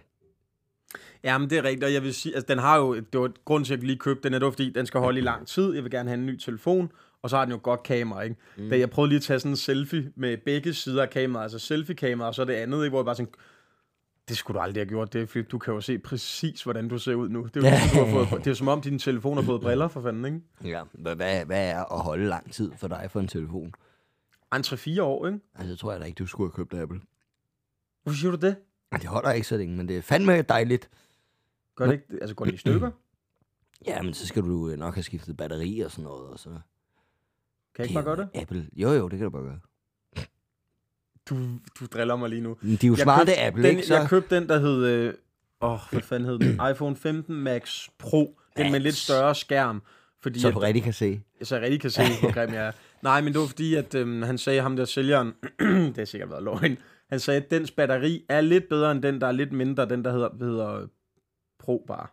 B: Jamen, det er rigtigt, og jeg vil sige, altså, den har jo, det var grund til, at jeg lige købte den, er det var, fordi den skal holde i lang tid, jeg vil gerne have en ny telefon, og så har den jo et godt kamera, ikke? Mm. Da jeg prøvede lige at tage sådan en selfie med begge sider af kameraet, altså selfie-kameraet, og så det andet, ikke? hvor jeg bare sådan, Det skulle du aldrig have gjort det, Flip. Du kan jo se præcis, hvordan du ser ud nu. Det er jo, ligesom, du har fået, det er jo som om, din telefon har fået briller for fanden, ikke?
C: Ja, hvad, hvad, hvad er at holde lang tid for dig for en telefon?
B: Andre fire år, ikke?
C: Altså, jeg tror jeg da ikke, du skulle have købt Apple.
B: Hvor siger du det?
C: Ej, Det holder ikke så længe, men det er fandme dejligt.
B: Gør det ikke? Altså, går det i stykker?
C: Jamen, så skal du øh, nok have skiftet batteri og sådan noget. Og så. Kan
B: Kan jeg ikke bare gøre det?
C: Apple. Jo, jo, det kan du bare gøre.
B: Du, du driller mig lige nu.
C: Men de er jo smarte Apple,
B: den,
C: ikke? Så...
B: Jeg købte den, der hed... Åh, øh, oh, hvad fanden hed den? iPhone 15 Max Pro. Den med en lidt større skærm. Fordi
C: så
B: at-
C: du rigtig kan se.
B: så jeg rigtig kan se, hvor grim jeg er. Nej, men det var fordi, at øhm, han sagde ham der sælgeren, det har sikkert været løgn, han sagde, at dens batteri er lidt bedre end den, der er lidt mindre, den der hedder, hedder øh, Pro bare.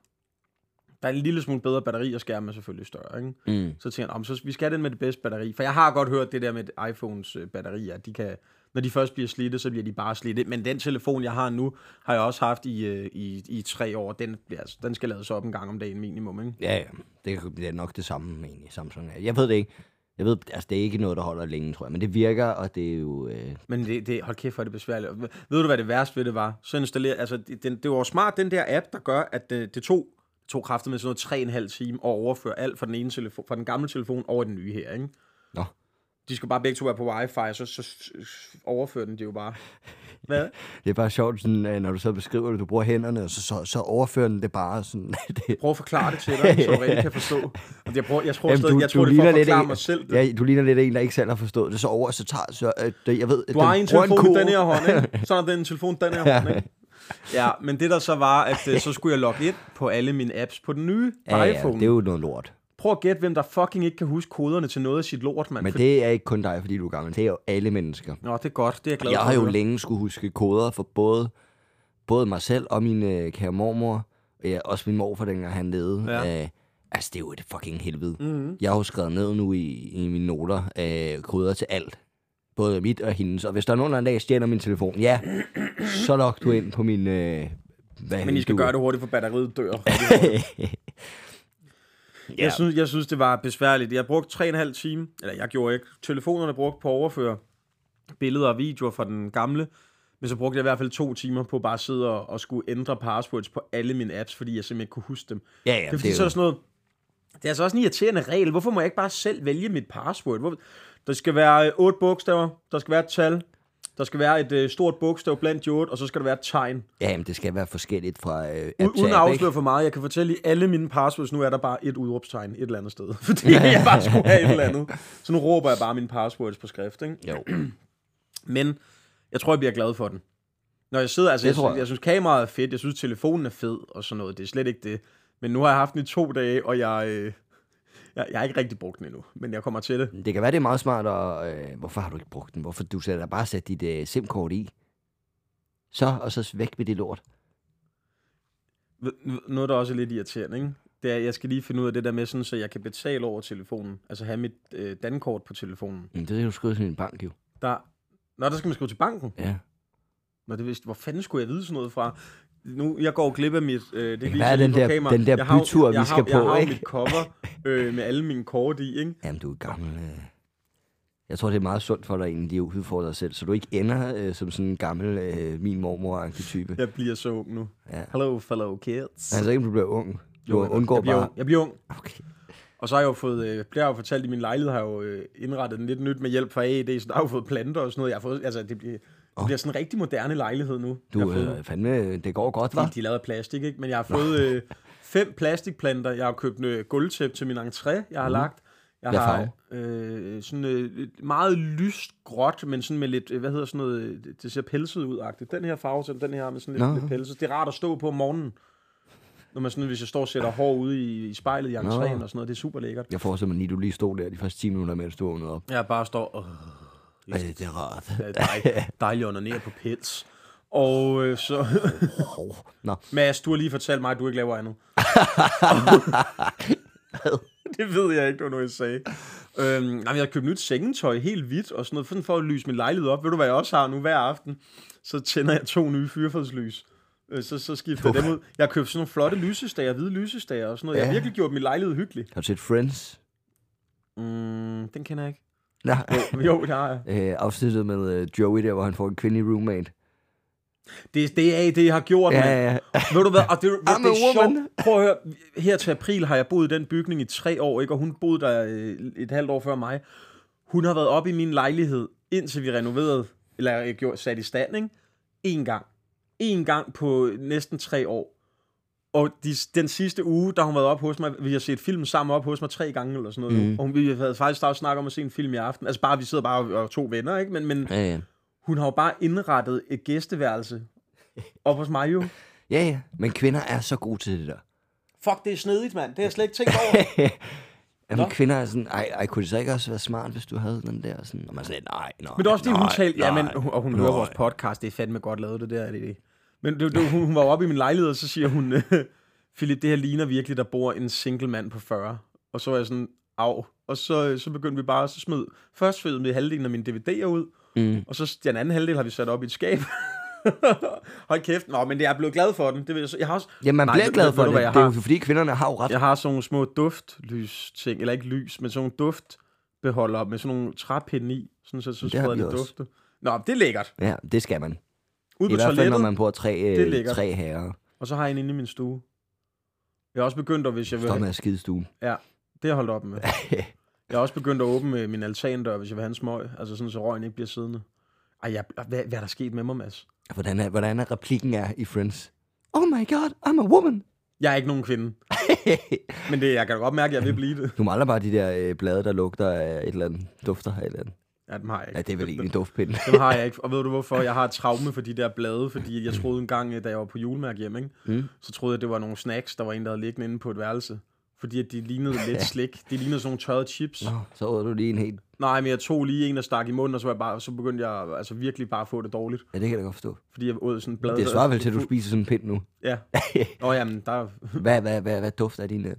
B: Der er en lille smule bedre batteri, og skærmen er selvfølgelig større, ikke?
C: Mm.
B: Så tænker jeg, "Nå, men så vi skal have den med det bedste batteri. For jeg har godt hørt det der med at iPhones øh, batterier. De kan, når de først bliver slidte, så bliver de bare slidte. Men den telefon, jeg har nu, har jeg også haft i, øh, i, i tre år. Den, bliver, altså- den skal lades op en gang om dagen minimum, ikke?
C: Ja, ja. Det kan- det er nok det samme egentlig, Samsung er. Jeg ved det ikke. Jeg ved, altså det er ikke noget, der holder længe, tror jeg. Men det virker, og det er jo... Øh...
B: Men det, det, hold kæft, hvor er det besværligt. Og Ved ved du, hvad det værste ved det var? Så installerer, altså, det- den, det var smart, den der app, der gør, at øh, det, det tog, det tog kræfter med sådan noget tre og en halv time at overføre alt fra den, ene telefon, fra den gamle telefon over i den nye her, ikke?
C: Nå.
B: De skulle bare begge to være på wifi, og så, så, så overfører den det jo bare. Hvad?
C: Det er bare sjovt, sådan, øh, når du så beskriver det, du bruger hænderne, og så, så, så overfører den det bare sådan... det,
B: Prøv at forklare det til dig, så du rigtig kan forstå. Og Jeg, prøver, jeg tror, stadig, jeg tror det er for
C: ligner
B: at
C: lidt
B: forklare
C: en-
B: mig selv. Det.
C: Ja, du ligner lidt en, der ikke selv har forstået det. Så over, så tager... Så, øh, det, jeg ved,
B: Du har en telefon i
C: kurv.
B: den her hånd, ikke? Så er der en telefon i den her hånd, ikke? Ja, men det der så var, at øh, så skulle jeg logge ind på alle mine apps på den nye
C: Ja, ja,
B: iPhone.
C: det er jo noget lort.
B: Prøv at gætte, hvem der fucking ikke kan huske koderne til noget af sit lort, mand.
C: Men
B: For-
C: det er ikke kun dig, fordi du er gammel. Det er jo alle mennesker.
B: Nå, det er godt. Det er jeg glad
C: Jeg
B: for.
C: har jo
B: at høre.
C: længe skulle huske koder for både, både mig selv og min øh, kære mormor. Og ja, også min morfar, dengang han levede.
B: Ja. Mhm.
C: Øh, altså, det er jo et fucking helvede. Mm-hmm. Jeg har jo skrevet ned nu i, i mine noter øh, koder til alt. Både mit og hendes. Og hvis der er nogen, der en dag stjæler min telefon, ja, så log du ind på min... Øh, hvad
B: Men I skal gøre det hurtigt, for batteriet dør.
C: Ja.
B: jeg, synes, jeg synes, det var besværligt. Jeg brugte tre og en halv time, eller jeg gjorde ikke. Telefonerne brugte på at overføre billeder og videoer fra den gamle. Men så brugte jeg i hvert fald to timer på bare at sidde og, og skulle ændre passwords på alle mine apps, fordi jeg simpelthen ikke kunne huske dem.
C: Ja, ja,
B: det er fordi,
C: det er
B: så er
C: jo-
B: der sådan noget... Det er altså også en irriterende regel. Hvorfor må jeg ikke bare selv vælge mit password? Hvor, der skal være øh, otte bogstaver, der skal være et tal, der skal være et øh, stort bogstav blandt de otte, og så skal der være et tegn.
C: Ja, jamen, det skal være forskelligt fra øh, app
B: U-
C: til
B: uden at
C: app, ikke?
B: afsløre for meget, jeg kan fortælle i alle mine passwords, nu er der bare et udråbstegn et eller andet sted. Fordi jeg bare skulle have et eller andet. Så nu råber jeg bare mine passwords på skrift. Ikke?
C: Jo.
B: Men jeg tror, jeg bliver glad for den. Når jeg sidder, altså,
C: Det
B: jeg,
C: tror
B: synes,
C: jeg.
B: jeg synes, kameraet er fedt, jeg synes, telefonen er fed og sådan noget. Det er slet ikke det. Men nu har jeg haft den i to dage, og jeg, øh, jeg, jeg har ikke rigtig brugt den endnu. Men jeg kommer til det.
C: Det kan være, det er meget smart, og øh, hvorfor har du ikke brugt den? Hvorfor du sætter bare sat dit øh, SIM-kort i? Så, og så væk med det lort.
B: Ved- Noget, der også er lidt irriterende, ikke? det er, at jeg skal lige finde ud af det der med, sådan, så jeg kan betale over telefonen. Altså have mit øh, dankort på telefonen.
C: Men det er jo skrevet til en bank, jo.
B: Der... Nå, der skal man skrive til banken.
C: Ja.
B: Nå, det vidste, hvor fanden skulle jeg vide sådan noget fra? Nu, jeg går glip af mit... Øh, det
C: kan
B: viser
C: være,
B: lige
C: den
B: på
C: der-
B: kamera.
C: den der
B: Jeg har jo-
C: bytur, vi
B: jeg har,
C: skal
B: jeg
C: på,
B: har jo
C: ikke?
B: mit cover øh, med alle mine kort i, ikke?
C: Jamen, du er gammel. Øh. Jeg tror, det er meget sundt for dig egentlig, at udfordre dig selv, så du ikke ender øh, som sådan en gammel øh, min mormor type. Ja.
B: Jeg bliver så ung nu.
C: Ja.
B: Hello, fellow kids.
C: Altså ikke, om du bliver ung. Du
B: jeg-
C: undgår
B: jeg bliver,
C: bare...
B: ung. Jeg bliver ung.
C: Okay.
B: Og så har jeg jo fået, øh, bliver jeg jo fortalt i min lejlighed, har jeg jo øh, indrettet den lidt nyt med hjælp fra AED, så der har jeg jo fået planter og sådan noget. Jeg har fået, altså, det bliver, det bliver sådan en rigtig moderne lejlighed nu. jeg
C: Du,
B: har fået,
C: øh, fandme, det går godt,
B: de,
C: hva'?
B: de er lavet af plastik, ikke? Men jeg har fået øh, fem plastikplanter. Jeg har købt øh, gulvtæp til min entré, jeg har mm. lagt. Jeg
C: Mhm. Hvad
B: har
C: farve?
B: øh, sådan øh, et meget lyst gråt, men sådan med lidt, øh, hvad hedder sådan noget, øh, det- det ser pelset ud -agtigt. Den her farve, som den her har med sådan lidt,
C: Nå.
B: lidt pelset. Det er rart at stå på om morgenen. Når man sådan, hvis jeg står og sætter hår ude i, i spejlet i entréen og sådan noget, det er super lækkert.
C: Jeg forestiller mig lige, du lige stod der de første 10 minutter, mens du vågnede op.
B: Jeg bare står og
C: Ja, det er rart.
B: øh, dej, dejligt under ned på pels. Og øh, så,
C: Hov. Nå,
B: Mads, du har lige fortalt mig, at du ikke laver andet. det ved jeg ikke, det var noget, jeg sagde. Øhm, nej, men jeg har købt nyt sengetøj, helt hvidt og sådan noget, sådan for at lyse min lejlighed op. Ved du, hvad jeg også har nu hver aften? Så tænder jeg to nye fyrfadslys. Øh, Så, så skifter jeg dem ud. Jeg har købt sådan nogle flotte lysestager, hvide lysestager og sådan noget. Jeg har
C: Ja.
B: virkelig gjort min lejlighed hyggelig.
C: har du set Friends?
B: Mm, den kender jeg ikke.
C: Nej.
B: Jo, det har jeg.
C: øh, afsnittet med øh, Joey der, hvor han får en kvindelig roommate.
B: Det er det, er, det I har gjort,
C: Ja,
B: mand.
C: ja, ja.
B: Ved du hvad, og det, det,
C: I'm
B: det er
C: a woman.
B: sjovt. Prøv at høre, her til april har jeg boet i den bygning i tre år, ikke? og hun boede der øh, et halvt år før mig. Hun har været oppe i min lejlighed, indtil vi renoverede, eller jeg gjorde, sat i stand, ikke? En gang. En gang på næsten tre år. Og de, den sidste uge, der hun været op hos mig, vi har set filmen sammen op hos mig tre gange eller sådan noget. Mm. Og hun, vi havde faktisk startet snakket om at se en film i aften. Altså bare, vi sidder bare og, og to venner, ikke? Men, men
C: Ja, ja.
B: hun har jo bare indrettet et gæsteværelse op hos mig jo.
C: Ja, ja. Men kvinder er så gode til det der.
B: Fuck, det er snedigt, mand. Det har jeg slet ikke tænkt over.
C: Jamen,
B: Nå.
C: kvinder er sådan, ej, ej, kunne det så ikke også være smart, hvis du havde den der? Sådan, og man er sådan, lidt, nej, nej,
B: Men det er også fordi, hun
C: nej,
B: talte... Ja, men,
C: nej,
B: og hun
C: nej.
B: hører vores podcast. Det er fandme godt lavet, det der. Det, det. Men det, det, hun, hun var jo oppe i min lejlighed, og så siger hun... øh, Philip, det her ligner virkelig, der bor en single mand på 40. Og så var jeg sådan, af. Og så, så begyndte vi bare, så smed... Først smed vi halvdelen af mine DVD'er ud, mm. og så den anden halvdel har vi sat op i et skab. Hold kæft. Nå, men jeg er blevet glad for den. Det vil jeg, så- jeg har også...
C: Jamen, man
B: Nej,
C: bliver
B: ved-
C: glad
B: ved-
C: for
B: ved du,
C: det.
B: hvad jeg
C: Det er
B: har?
C: jo fordi, kvinderne har jo ret.
B: Jeg har sådan nogle små duftlys ting, eller ikke lys, men sådan nogle duftbeholder med sådan nogle træpinde i, sådan så, så
C: Det har
B: spreder
C: vi
B: det
C: også.
B: dufte. Nå, det er lækkert.
C: Ja, det skal man.
B: Ude
C: I
B: på
C: hvert fald, når
B: toilettet,
C: man bor tre,
B: Det er
C: øh,
B: lækkert.
C: tre herrer.
B: og så har jeg en inde i min stue. Jeg er også begyndt at, hvis jeg vil
C: Stop med
B: have,
C: at skide i stuen.
B: Ja, det har jeg holdt op med. Jeg er også begyndt at åbne øh, min altandør, hvis jeg vil have en smøg, altså sådan, så røgen ikke bliver siddende. Ej, jeg, hvad, hvad er der sket med mig, Mads?
C: Hvordan er, hvordan er replikken er i Friends? Oh my god, I'm a woman.
B: Jeg er ikke nogen kvinde, men det, jeg kan da godt mærke, at jeg vil blive det.
C: du maler bare de der øh, blade, der lugter af et eller andet. Dufter af et eller andet.
B: Ja, dem har jeg ikke.
C: Ja, det er vel egentlig en duftpind.
B: Dem har jeg ikke. Og ved du hvorfor? Jeg har et traume for de der blade, fordi jeg troede en gang, øh, da jeg var på julemærke hjemme, ikke? Mm. så troede jeg, det var nogle snacks, der var en, der havde liggende inde på et værelse. Fordi at de lignede lidt slik. De lignede sådan nogle tørrede chips.
C: Nå, så åd du lige en helt...
B: Nej, men jeg tog lige en og stak i munden, og så, var jeg bare, så begyndte jeg altså, virkelig bare at få det dårligt.
C: Ja, det kan jeg da godt forstå.
B: Fordi jeg åd sådan en blad.
C: Det svarer vel til, at du spiser sådan en pind nu.
B: Ja. Nå, jamen, der...
C: Hvad, hvad, hvad, hvad dufter din... øh?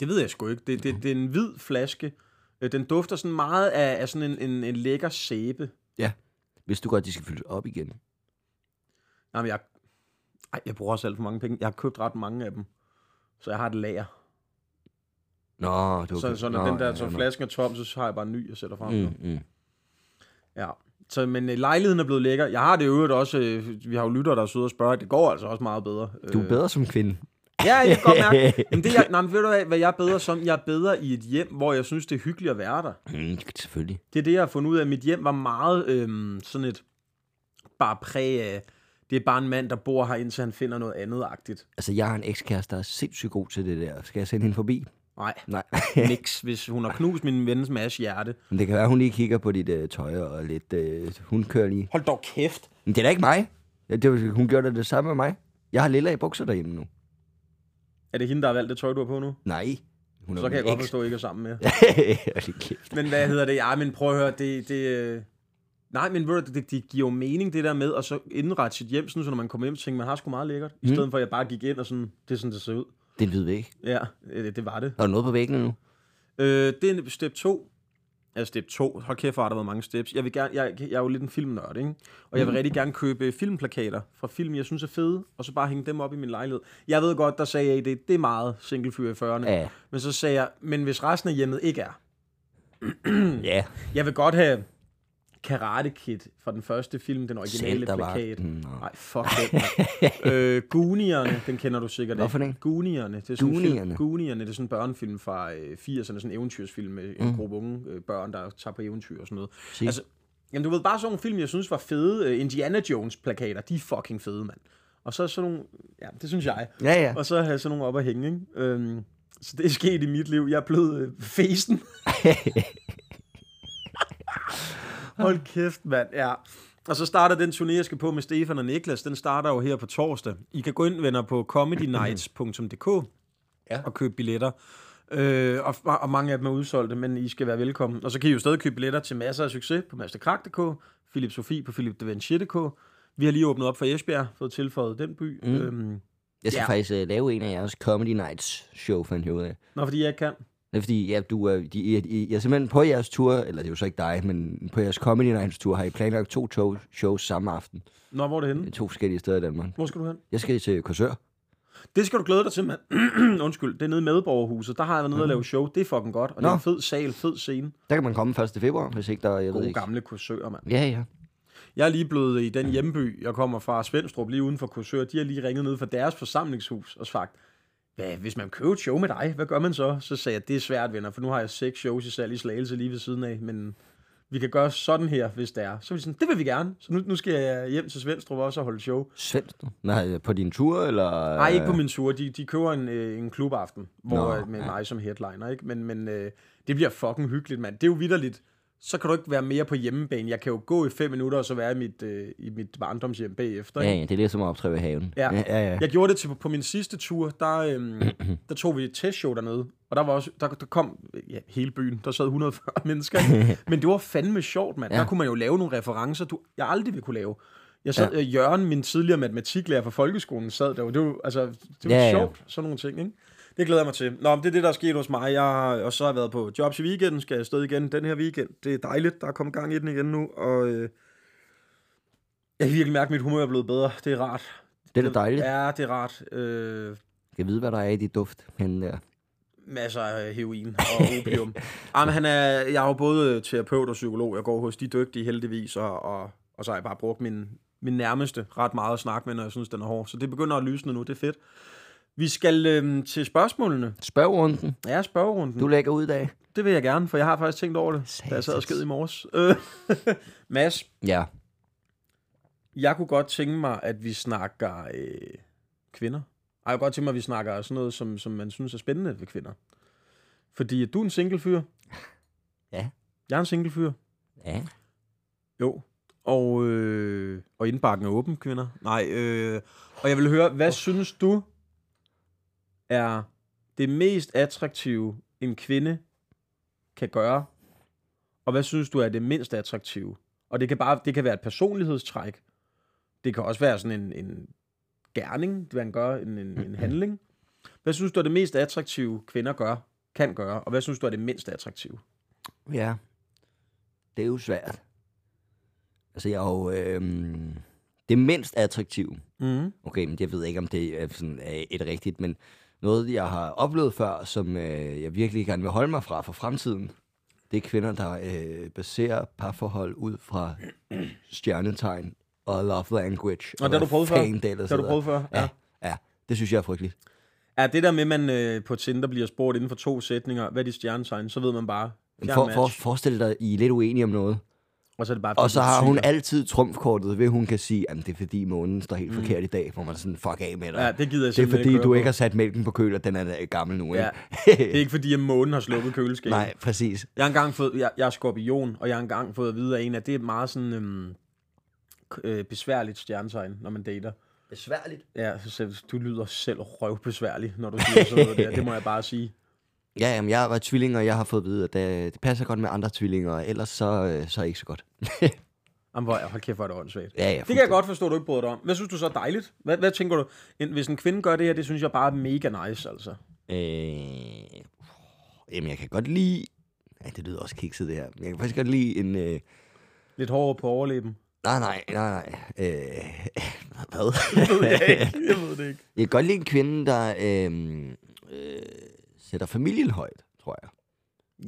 B: Det ved jeg sgu ikke. Det, det, det er en hvid flaske. Øh, Den dufter sådan meget af, af sådan en, en, en lækker sæbe.
C: Ja. Hvis du godt, de skal fyldes op igen.
B: Nej, men jeg... Ej, jeg bruger også alt for mange penge. Jeg har købt ret mange af dem. Så jeg har et lager.
C: Nå, du
B: Okay. Så, så når
C: Nå,
B: Nå, den der
C: ja,
B: så
C: ja, nå.
B: flasken er tom, så har jeg bare en ny, jeg sætter frem. Mm.
C: Mm, mm.
B: Ja. Så, men øh, lejligheden er blevet lækker. Jeg har det i øvrigt også. Øh, vi har jo lyttere, der er søde og spørger. Det går altså også meget bedre.
C: Du er bedre som kvinde.
B: Ja, jeg kan godt mærke. Men det, er jeg, nej, men ved du hvad, hvad jeg er bedre som? Jeg er bedre i et hjem, hvor jeg synes, det er hyggeligt at være der.
C: Mm, selvfølgelig.
B: Det er det, jeg har fundet ud af. Mit hjem var meget øhm, sådan et bare præg af, det er bare en mand, der bor her, indtil han finder noget andet-agtigt.
C: Altså, jeg har en ekskæreste, der er sindssygt god til det der. Skal jeg sende hende forbi?
B: Nej,
C: Nej.
B: niks, hvis hun har knust min vens masse hjerte.
C: Men det kan være, hun lige kigger på dit øh, tøj og lidt... Øh, hun kører lige.
B: Hold dog kæft.
C: Men det er da ikke mig. Ja, det, var- hun gjorde da det samme med mig. Jeg har lilla i bukser derhjemme nu.
B: Er det hende, der har valgt det tøj, du har på nu?
C: Nej. Hun er
B: Så kan jeg
C: min
B: godt
C: eks.
B: forstå, at I ikke er sammen mere.
C: Hold kæft.
B: Men hvad hedder det? Ja, men prøv at høre, det... det øh, nej, men ved du, det, det giver jo mening, det der med at så indrette sit hjem, sådan, så når man kommer hjem, så tænker man, har sgu meget lækkert. I stedet for, at jeg bare gik ind og sådan, det er sådan, det ser ud.
C: Det er en hvid væg.
B: Ja, øh, det var det.
C: Er der noget på væggen nu?
B: Øh, det er step 2. Altså step 2. Hold kæft, hvor har der været mange steps. Jeg, vil gerne, jeg, jeg er jo lidt en filmnørd, ikke? Og jeg vil rigtig gerne købe øh, filmplakater fra film, jeg synes er fede, og så bare hænge dem op i min lejlighed. Jeg ved godt, der sagde jeg, det, det er meget singlefyr i 40'erne.
C: Ja.
B: Men så sagde jeg, men hvis resten af hjemmet ikke er.
C: Ja.
B: Jeg vil godt have Karate Kid fra den første film, den originale
C: Sæt dig bare.
B: plakat.
C: Mm, nå.
B: Nej, fuck den. mand. øh, Goonierne, den kender du sikkert
C: Hvad for en?
B: Goonierne. Det er sådan En
C: Goonierne?
B: film, Goonierne, det er sådan en børnefilm fra øh, 80'erne, sådan en eventyrsfilm med
C: Mm.
B: en gruppe unge øh, børn, der tager på eventyr og sådan noget.
C: Sig.
B: Altså, jamen, du ved bare sådan nogle film, jeg synes var fede. Øh, Indiana Jones-plakater, de er fucking fede, mand. Og så sådan nogle, ja, det synes jeg.
C: Ja, ja.
B: Og så have sådan nogle op at hænge, ikke? Øhm, så det er sket i mit liv. Jeg er blevet øh, fesen. Hold kæft, mand. Ja. Og så starter den turné, jeg skal på med Stefan og Niklas. Den starter jo her på torsdag. I kan gå ind, venner, på comedynights.dk ja. og købe billetter. Øh, og, og mange af dem er udsolgte, men I skal være velkommen. Og så kan I jo stadig købe billetter til masser af succes på masterkrak.dk, Philip Sofie på philipdevanchit.dk. Vi har lige åbnet op for Esbjerg, fået tilføjet den by. Mm. Øhm,
C: Jeg skal
B: Ja.
C: ja. faktisk uh, lave en af jeres Comedy Nights show, fandt jeg ud af.
B: Nå, fordi jeg ikke kan.
C: Det er fordi, ja, du er, de, I, I, jeg er simpelthen på jeres tur, eller det er jo så ikke dig, men på jeres Comedy Nights tur har I planlagt to tog, shows samme aften.
B: Nå, hvor er det henne?
C: To forskellige steder i Danmark.
B: Hvor skal du hen?
C: Jeg skal til Korsør.
B: Det skal du glæde dig til, mand. Undskyld, det er nede i Medborgerhuset. Der har jeg været nede og lave show. Det er fucking godt. Og Nå. det er
C: Nå.
B: en fed sal, fed scene.
C: Der kan man komme 1. februar, hvis ikke der, jeg ved
B: Gode
C: ikke.
B: gamle kursører, mand.
C: Ja, ja.
B: Jeg er lige blevet i den hjemby, jeg kommer fra, Svendstrup, lige uden for Korsør. De har lige ringet ned fra deres forsamlingshus og sagt, hvad, hvis man køber et show med dig, hvad gør man så? Så sagde jeg, det er svært, venner, for nu har jeg seks shows i salg i Slagelse lige ved siden af, men vi kan gøre sådan her, hvis det er. Så var de sådan, det vil vi gerne. Så nu, nu skal jeg hjem til Svendstrup også og holde show.
C: Svendstrup? Nej, øh, på din tur, eller?
B: Nej, ikke på min tur. De, de køber en, øh, en klubaften, hvor
C: Øh. Nå,
B: Nå, med
C: ja.
B: ja. mig som headliner, ikke? Men, men øh, det bliver fucking hyggeligt, mand. Det er jo vidderligt. Så kan du ikke være mere på hjemmebane. Jeg kan jo gå i fem minutter, og så være i mit, øh, i mit barndomshjem bagefter.
C: Ja,
B: ikke?
C: ja, det er lidt som at optræde i haven.
B: Ja.
C: ja, ja. ja.
B: Jeg gjorde det til, på min sidste tur, der, øhm, der tog vi et testshow dernede, og der, var også, der, der kom ja, hele byen, der sad 140 mennesker, ikke? men det var fandme sjovt, mand. Ja. Der kunne man jo lave nogle referencer, du, jeg aldrig ville kunne lave. Jeg sad, ja. Jørgen, min tidligere matematiklærer fra folkeskolen, sad der jo. Det var, altså, det var
C: Ja,
B: ja,
C: ja.
B: sjovt, sådan nogle ting, ikke? Det glæder jeg mig til. Nå, men det er det, der er sket hos mig. Jeg har, og så har jeg været på jobs i weekenden, skal jeg afsted igen den her weekend. Det er dejligt, der er kommet gang i den igen nu, og øh, jeg kan virkelig mærke, at mit humør er blevet bedre. Det er rart.
C: Det er da dejligt.
B: Øhm, Ja, det er rart. Øh,
C: Jeg ved, hvad der er i dit duft. Men, øh, ja.
B: masser af heroin og opium. Jamen, han er, jeg er jo både terapeut og psykolog. Jeg går hos de dygtige heldigvis, og, og, og så har jeg bare brugt min, min nærmeste ret meget at snakke med, når jeg synes, den er hård. Så det begynder at lysne nu, det er fedt. Vi skal øhm, til spørgsmålene.
C: Spørgrunden.
B: Ja, spørgerunden.
C: Du lægger ud i dag.
B: Det vil jeg gerne, for jeg har faktisk tænkt over det, da jeg sad og
C: Satans.
B: sked i morges. Øh, Mads,
C: Ja.
B: jeg kunne godt tænke mig, at vi snakker øh, kvinder. Ej, jeg kunne godt tænke mig, at vi snakker sådan noget, som, som man synes er spændende ved kvinder. Fordi du er en single fyr.
C: Ja.
B: Jeg er en single fyr.
C: Ja.
B: Jo. Og, øh, og indbakken er åben, kvinder. Nej, øh, og jeg vil høre, hvad synes du er det mest attraktive, en kvinde kan gøre? Og hvad synes du er det mindst attraktive? Og det kan, bare, det kan være et personlighedstræk. Det kan også være sådan en, en gerning, man gør, en, en, en handling. Hvad synes du er det mest attraktive, kvinder gør, kan gøre? Og hvad synes du er det mindst attraktive?
C: Ja. Det er jo svært. Altså, jeg er jo øhm, det mindst attraktive.
B: Mm.
C: Okay, men jeg ved ikke, om det er sådan, er et rigtigt, men noget, jeg har oplevet før, som øh, jeg virkelig gerne vil holde mig fra for fremtiden, det er kvinder, der øh, baserer parforhold ud fra stjernetegn og love language.
B: Og det har du prøvet før?
C: Det
B: Det har du prøvet før?
C: Ja.
B: Ja.
C: ja, det synes jeg er frygteligt.
B: Er det der med, at man øh, på Tinder bliver spurgt inden for to sætninger, hvad er dit stjernetegn, så ved man bare,
C: Men
B: fjern
C: for,
B: match.
C: for, forestil dig, I er lidt uenige om noget,
B: og så er det bare,
C: og så
B: fordi
C: har
B: du
C: hun
B: syger.
C: altid trumfkortet ved, at hun kan sige, at det er fordi månen står helt forkert i dag, hvor man er sådan, fuck af med dig.
B: Mm. Ja, det gider jeg
C: det er
B: simpelthen ikke
C: fordi,
B: høre
C: du
B: på.
C: ikke har sat mælken på køl, og den er da gammel nu, ikke?
B: Ja. Det er ikke fordi, at månen har slukket køleskabet.
C: Nej, præcis.
B: Jeg har engang fået, jeg, jeg er skorpion, og jeg har engang fået at vide af en, at det er et meget sådan øhm, k- øh, besværligt stjernetegn, når man dater.
C: Besværligt.
B: Ja, så selv- du lyder selv røvbesværlig, når du siger sådan noget der. Det må jeg bare sige.
C: Ja, jamen, jeg var tvilling, og jeg har fået at vide, at øh, det, det passer godt med andre tvillinger, og ellers så, øh, så er det ikke så godt.
B: Jamen, hvor, hold kæft, hvor er det åndssvagt.
C: Ja, ja,
B: Det kan jeg godt forstå, du ikke bryder dig om. Hvad synes du så er dejligt? Hvad, hvad tænker du? En, hvis en kvinde gør det her, det synes jeg bare er mega nice, altså.
C: Øh, jamen, jeg kan godt lide... Ja, det lyder også kikset, det her. Jeg kan faktisk godt lide en... Øh,
B: Lidt hårdere på overleben.
C: nej, nej, nej, nej. Øh, hvad?
B: Jeg ved det ikke.
C: jeg kan godt lide en kvinde, der øh, øh, sætter familien højt, tror jeg.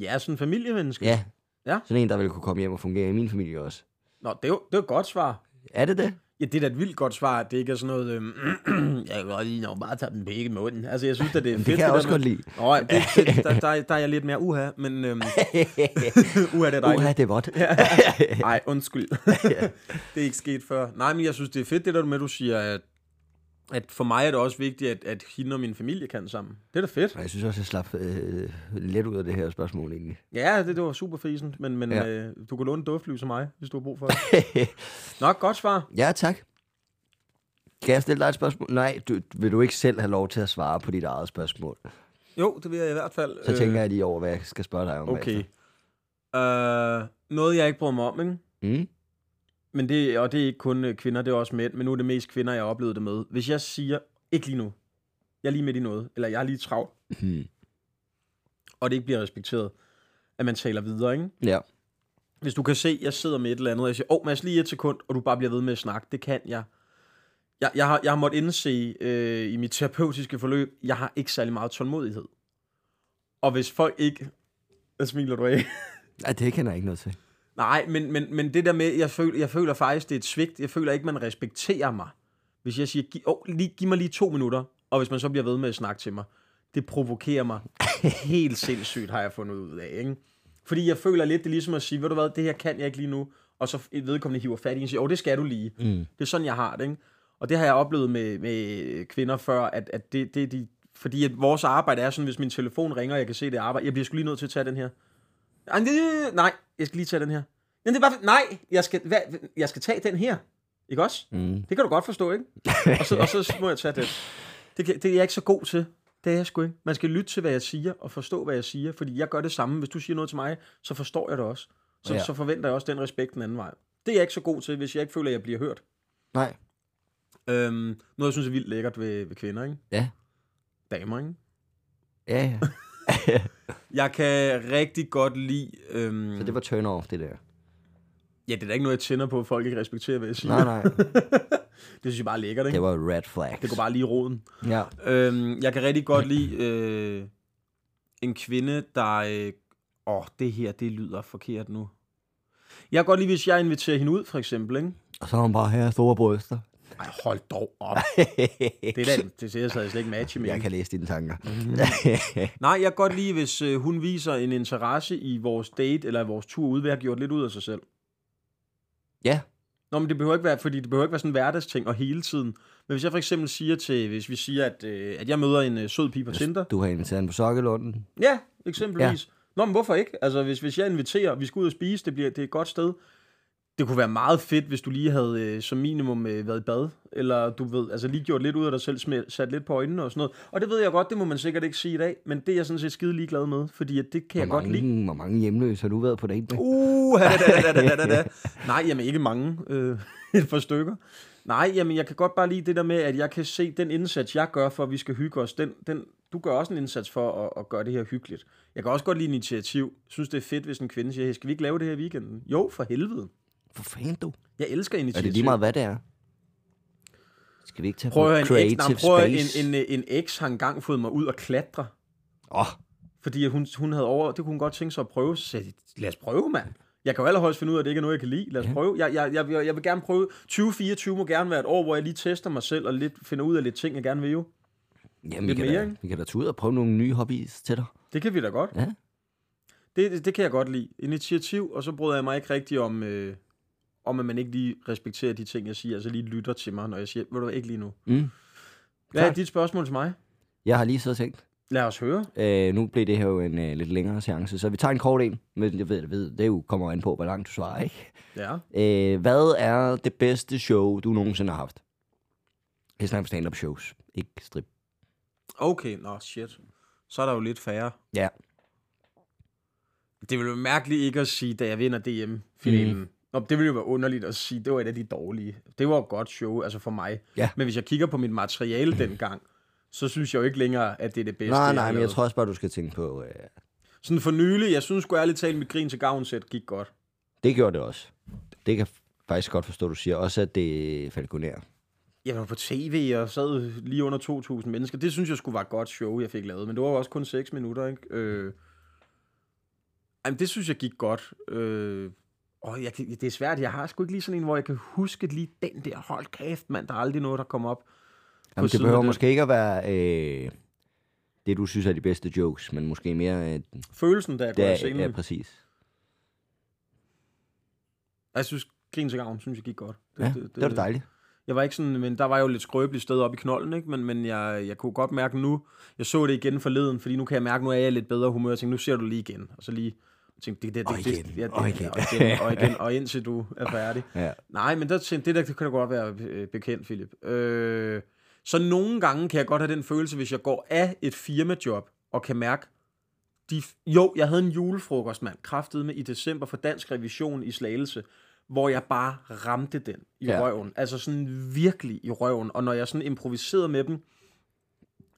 B: Ja, sådan en familiemenneske.
C: Ja.
B: Ja.
C: Sådan en, der vil kunne komme hjem og fungere i min familie også.
B: Nå, det er jo det er et godt svar.
C: Er det det?
B: Ja, det er da et vildt godt svar, at det ikke er sådan noget, øhm, jeg kan godt lide, når man bare tager den pæk i munden. Altså, jeg synes, at det er fedt.
C: kan jeg
B: der
C: også
B: med-
C: godt lide.
B: Nå, ja, det, det, der, der, er- der, er jeg lidt mere uha, men øhm, uha, det er
C: Uha,
B: dejligt.
C: det er vådt.
B: Nej, undskyld. det er ikke sket før. Nej, men jeg synes, det er fedt, det der med, du siger, at, at for mig er det også vigtigt, at, at hende og min familie kan sammen. Det er da fedt.
C: Og Jeg synes også, jeg slap øh, let ud af det her spørgsmål, egentlig.
B: Ja, det, det var super fisen, men, men
C: Ja.
B: ja. øh, du kan låne en duftlys af mig, hvis du har brug for det. Nok godt svar.
C: ja, tak. Kan jeg stille dig et spørgsmål? Nej, du, vil du ikke selv have lov til at svare på dit eget spørgsmål?
B: Jo, det vil jeg i hvert fald.
C: Så tænker jeg lige over, hvad jeg skal spørge dig om.
B: Øh.
C: altså.
B: Okay.
C: bagefter. Altså.
B: Uh, noget, jeg ikke bryder mig om, ikke?
C: Mm?
B: Men det, og det er ikke kun øh, kvinder, det er også mænd, men nu er det mest kvinder, jeg har oplevet det med. Hvis jeg siger, ikke lige nu, jeg er lige midt i noget, eller jeg er lige travlt,
C: Hmm.
B: og det ikke bliver respekteret, at man taler videre, ikke?
C: Ja.
B: Hvis du kan se, jeg sidder med et eller andet, og jeg siger, åh, oh, Mads, lige et sekund, og du bare bliver ved med at snakke, det kan jeg. Jeg, jeg, har, jeg har måttet indse øh, i mit terapeutiske forløb, jeg har ikke særlig meget tålmodighed. Og hvis folk ikke... Hvad smiler du af?
C: Ej, det kender jeg ikke noget til.
B: Nej, men, men, men det der med, jeg føler, jeg føler faktisk, det er et svigt. Jeg føler ikke, man respekterer mig. Hvis jeg siger, giv, oh, lige, giv mig lige to minutter, og hvis man så bliver ved med at snakke til mig, det provokerer mig helt sindssygt, har jeg fundet ud af. Ikke? Fordi jeg føler lidt, det er ligesom at sige, ved du hvad, det her kan jeg ikke lige nu, og så et vedkommende hiver fat i en og siger, åh, det skal du lige. Mm. Det er sådan, jeg har det. Ikke? Og det har jeg oplevet med, med kvinder før, at, at det, det er de, fordi at vores arbejde er sådan, hvis min telefon ringer, og jeg kan se det arbejde, jeg bliver sgu lige nødt til at tage den her. Ej, men det- Nej, jeg skal lige tage den her. Men det er bare, nej, jeg skal, hvad, jeg skal tage den her. Ikke også? Mm. Det kan du godt forstå, ikke? Og så, og så må jeg tage den. Det, kan, det er jeg ikke så god til. Det er jeg sgu ikke. Man skal lytte til, hvad jeg siger, og forstå, hvad jeg siger. Fordi jeg gør det samme. Hvis du siger noget til mig, så forstår jeg det også. Så,
C: Ja.
B: ja. så forventer jeg også den respekt den anden vej. Det er jeg ikke så god til, hvis jeg ikke føler, at jeg bliver hørt.
C: Nej.
B: Øhm, noget, jeg synes er vildt lækkert ved, ved kvinder, ikke?
C: Ja.
B: Damer, ikke?
C: Ja, ja.
B: Jeg kan rigtig godt lide... Øhm,
C: Så det var turn off, det der.
B: Ja, det er da ikke noget, jeg tænder på, at folk ikke respekterer, hvad jeg siger.
C: Nej, nej.
B: Det synes jeg bare er lækkert, ikke? Det,
C: Det var red flags.
B: det går bare lige i roden.
C: Ja.
B: Øhm, jeg kan rigtig godt lide øh, en kvinde, der... Øh, åh, det her, det lyder forkert nu. Jeg kan godt lide, hvis jeg inviterer hende ud, for eksempel, ikke?
C: Og så har hun bare her store bryster.
B: Ej, hold dog op. Det er da, det ser jeg så slet ikke matche med.
C: jeg kan læse dine tanker.
B: Nej, jeg kan godt lide, hvis øh, hun viser en interesse i vores date, eller i vores tur ud, ved at have gjort lidt ud af sig selv.
C: ja.
B: Nå, men det behøver ikke være, fordi det behøver ikke være sådan en hverdagsting og hele tiden. Men hvis jeg for eksempel siger til, hvis vi siger, at, øh, at jeg møder en øh, sød pige på Tinder.
C: Du har inviteret hende på sokkelunden.
B: Ja, eksempelvis. Ja. Nå, men hvorfor ikke? Altså, hvis, hvis jeg inviterer, vi skal ud og spise, det, bliver, det er et godt sted. Det kunne være meget fedt, hvis du lige havde øh, som minimum øh, været i bad, eller du ved, altså lige gjort lidt ud af dig selv, smidt, sat lidt på øjnene og sådan noget. Og det ved jeg godt, det må man sikkert ikke sige i dag, men det er jeg sådan set skide ligeglad med, fordi at det kan jeg
C: Hvor
B: godt lide.
C: mange, hvor mange hjemløse har du været på date med?
B: Uh, da, da, da, da, da, da, da. Nej, jamen ikke mange. Øh, et par stykker. Nej, jamen jeg kan godt bare lide det der med, at jeg kan se den indsats, jeg gør for, at vi skal hygge os. Den, den, du gør også en indsats for at, at gøre det her hyggeligt. Jeg kan også godt lide initiativ. Jeg synes, det er fedt, hvis en kvinde siger, hey, skal vi ikke lave det her i weekenden? Jo, for helvede.
C: For fanden du?
B: Jeg elsker
C: Er
B: initiativ.
C: det lige meget, hvad det er? Skal vi ikke tage
B: Prøv
C: på
B: at høre, en, ex,
C: creative
B: nej, prøv at høre,
C: space?
B: en, en, en ex har engang fået mig ud og klatre,
C: Åh,
B: fordi at hun, hun havde over, det kunne hun godt tænke sig at prøve. Så sagde jeg, lad os prøve, mand. Jeg kan jo allerhøjst finde ud af, at det ikke er noget, jeg kan lide. Lad os
C: Ja.
B: ja. prøve. Jeg, jeg, jeg, vil- jeg vil gerne prøve. 2024 må gerne være et år, hvor jeg lige tester mig selv og lidt, finder ud af lidt ting, jeg gerne vil jo.
C: jamen, vi
B: lidt
C: kan,
B: mere,
C: da,
B: ikke?
C: vi kan da tage ud og prøve nogle nye hobbies til dig.
B: Det kan vi da godt.
C: Ja.
B: Det, det, det kan jeg godt lide. Initiativ, og så bryder jeg mig ikke rigtig om, øh, om at man ikke lige respekterer de ting, jeg siger. Altså lige lytter til mig, når jeg siger, ved du hvad, ikke lige nu.
C: Mm.
B: Hvad er
C: Klart.
B: dit spørgsmål til mig?
C: Jeg har lige så tænkt,
B: Lad os høre.
C: Øh, nu blev det her jo en øh, lidt længere seance, så vi tager en kort en, men jeg ved, jeg ved det er jo kommer an på, hvor langt du svarer, ikke?
B: Ja.
C: Øh, hvad er det bedste show, du nogensinde har haft? Jeg snakker om stand-up shows, ikke strip.
B: Okay, nå shit. Så er der jo lidt færre.
C: Ja,
B: Det ville være mærkeligt ikke at sige, da jeg vinder DM-finalen. Mm. Nå, det ville jo være underligt at sige, det var et af de dårlige. Det var et godt show, altså for mig.
C: Ja. Mm.
B: Men hvis jeg kigger på mit materiale dengang, så synes jeg jo ikke længere, at det er det bedste.
C: nej,
B: har
C: nej, men jeg
B: lavet.
C: tror også bare, du skal tænke på, øh,
B: Sådan for nylig, jeg synes sgu ærligt talt, mit grin til gavnsæt gik godt.
C: det gjorde det også. Det kan jeg faktisk godt forstå, du siger. Også at det falconer.
B: Jeg var på tv og sad lige under 2.000 mennesker. Det synes jeg skulle være et godt show, jeg fik lavet. Men det var jo også kun 6 minutter, ikke? Øh... Jamen, det synes jeg gik godt. Øh... Og jeg, kan- det er svært. Jeg har sgu ikke lige sådan en, hvor jeg kan huske lige den der. Hold kæft, mand. Der er aldrig noget, der kommer op. på
C: Jamen, det
B: siden af
C: behøver måske ikke at være øh, det, du synes er de bedste jokes, men måske mere... Øh,
B: Følelsen, da jeg går af
C: det er,
B: scenen.
C: ja,
B: Ja,
C: præcis.
B: jeg synes, grin til gavn, synes jeg gik godt.
C: Ja, det, det, det var da dejligt.
B: Jeg var ikke sådan, men der var jo lidt skrøbeligt sted oppe i knolden, ikke? Men, men jeg, jeg kunne godt mærke nu, jeg så det igen forleden, fordi nu kan jeg mærke, nu er jeg i lidt bedre humør, og tænkte, nu ser du lige igen. Og så lige jeg tænkte, det, det, det,
C: Og igen,
B: det, ja, det,
C: og igen.
B: og igen, og igen, og indtil du er færdig.
C: Ja.
B: Nej, men der tænkte, det der det kan da godt være øh, bekendt, Philip. Øh, så nogle gange kan jeg godt have den følelse, hvis jeg går af et firmajob, og kan mærke, de, jo, jeg havde en julefrokost, mand, kraftet med i december for Dansk Revision i Slagelse, hvor jeg bare ramte den i
C: Ja.
B: ja. røven. Altså sådan virkelig i røven. Og når jeg sådan improviserede med dem,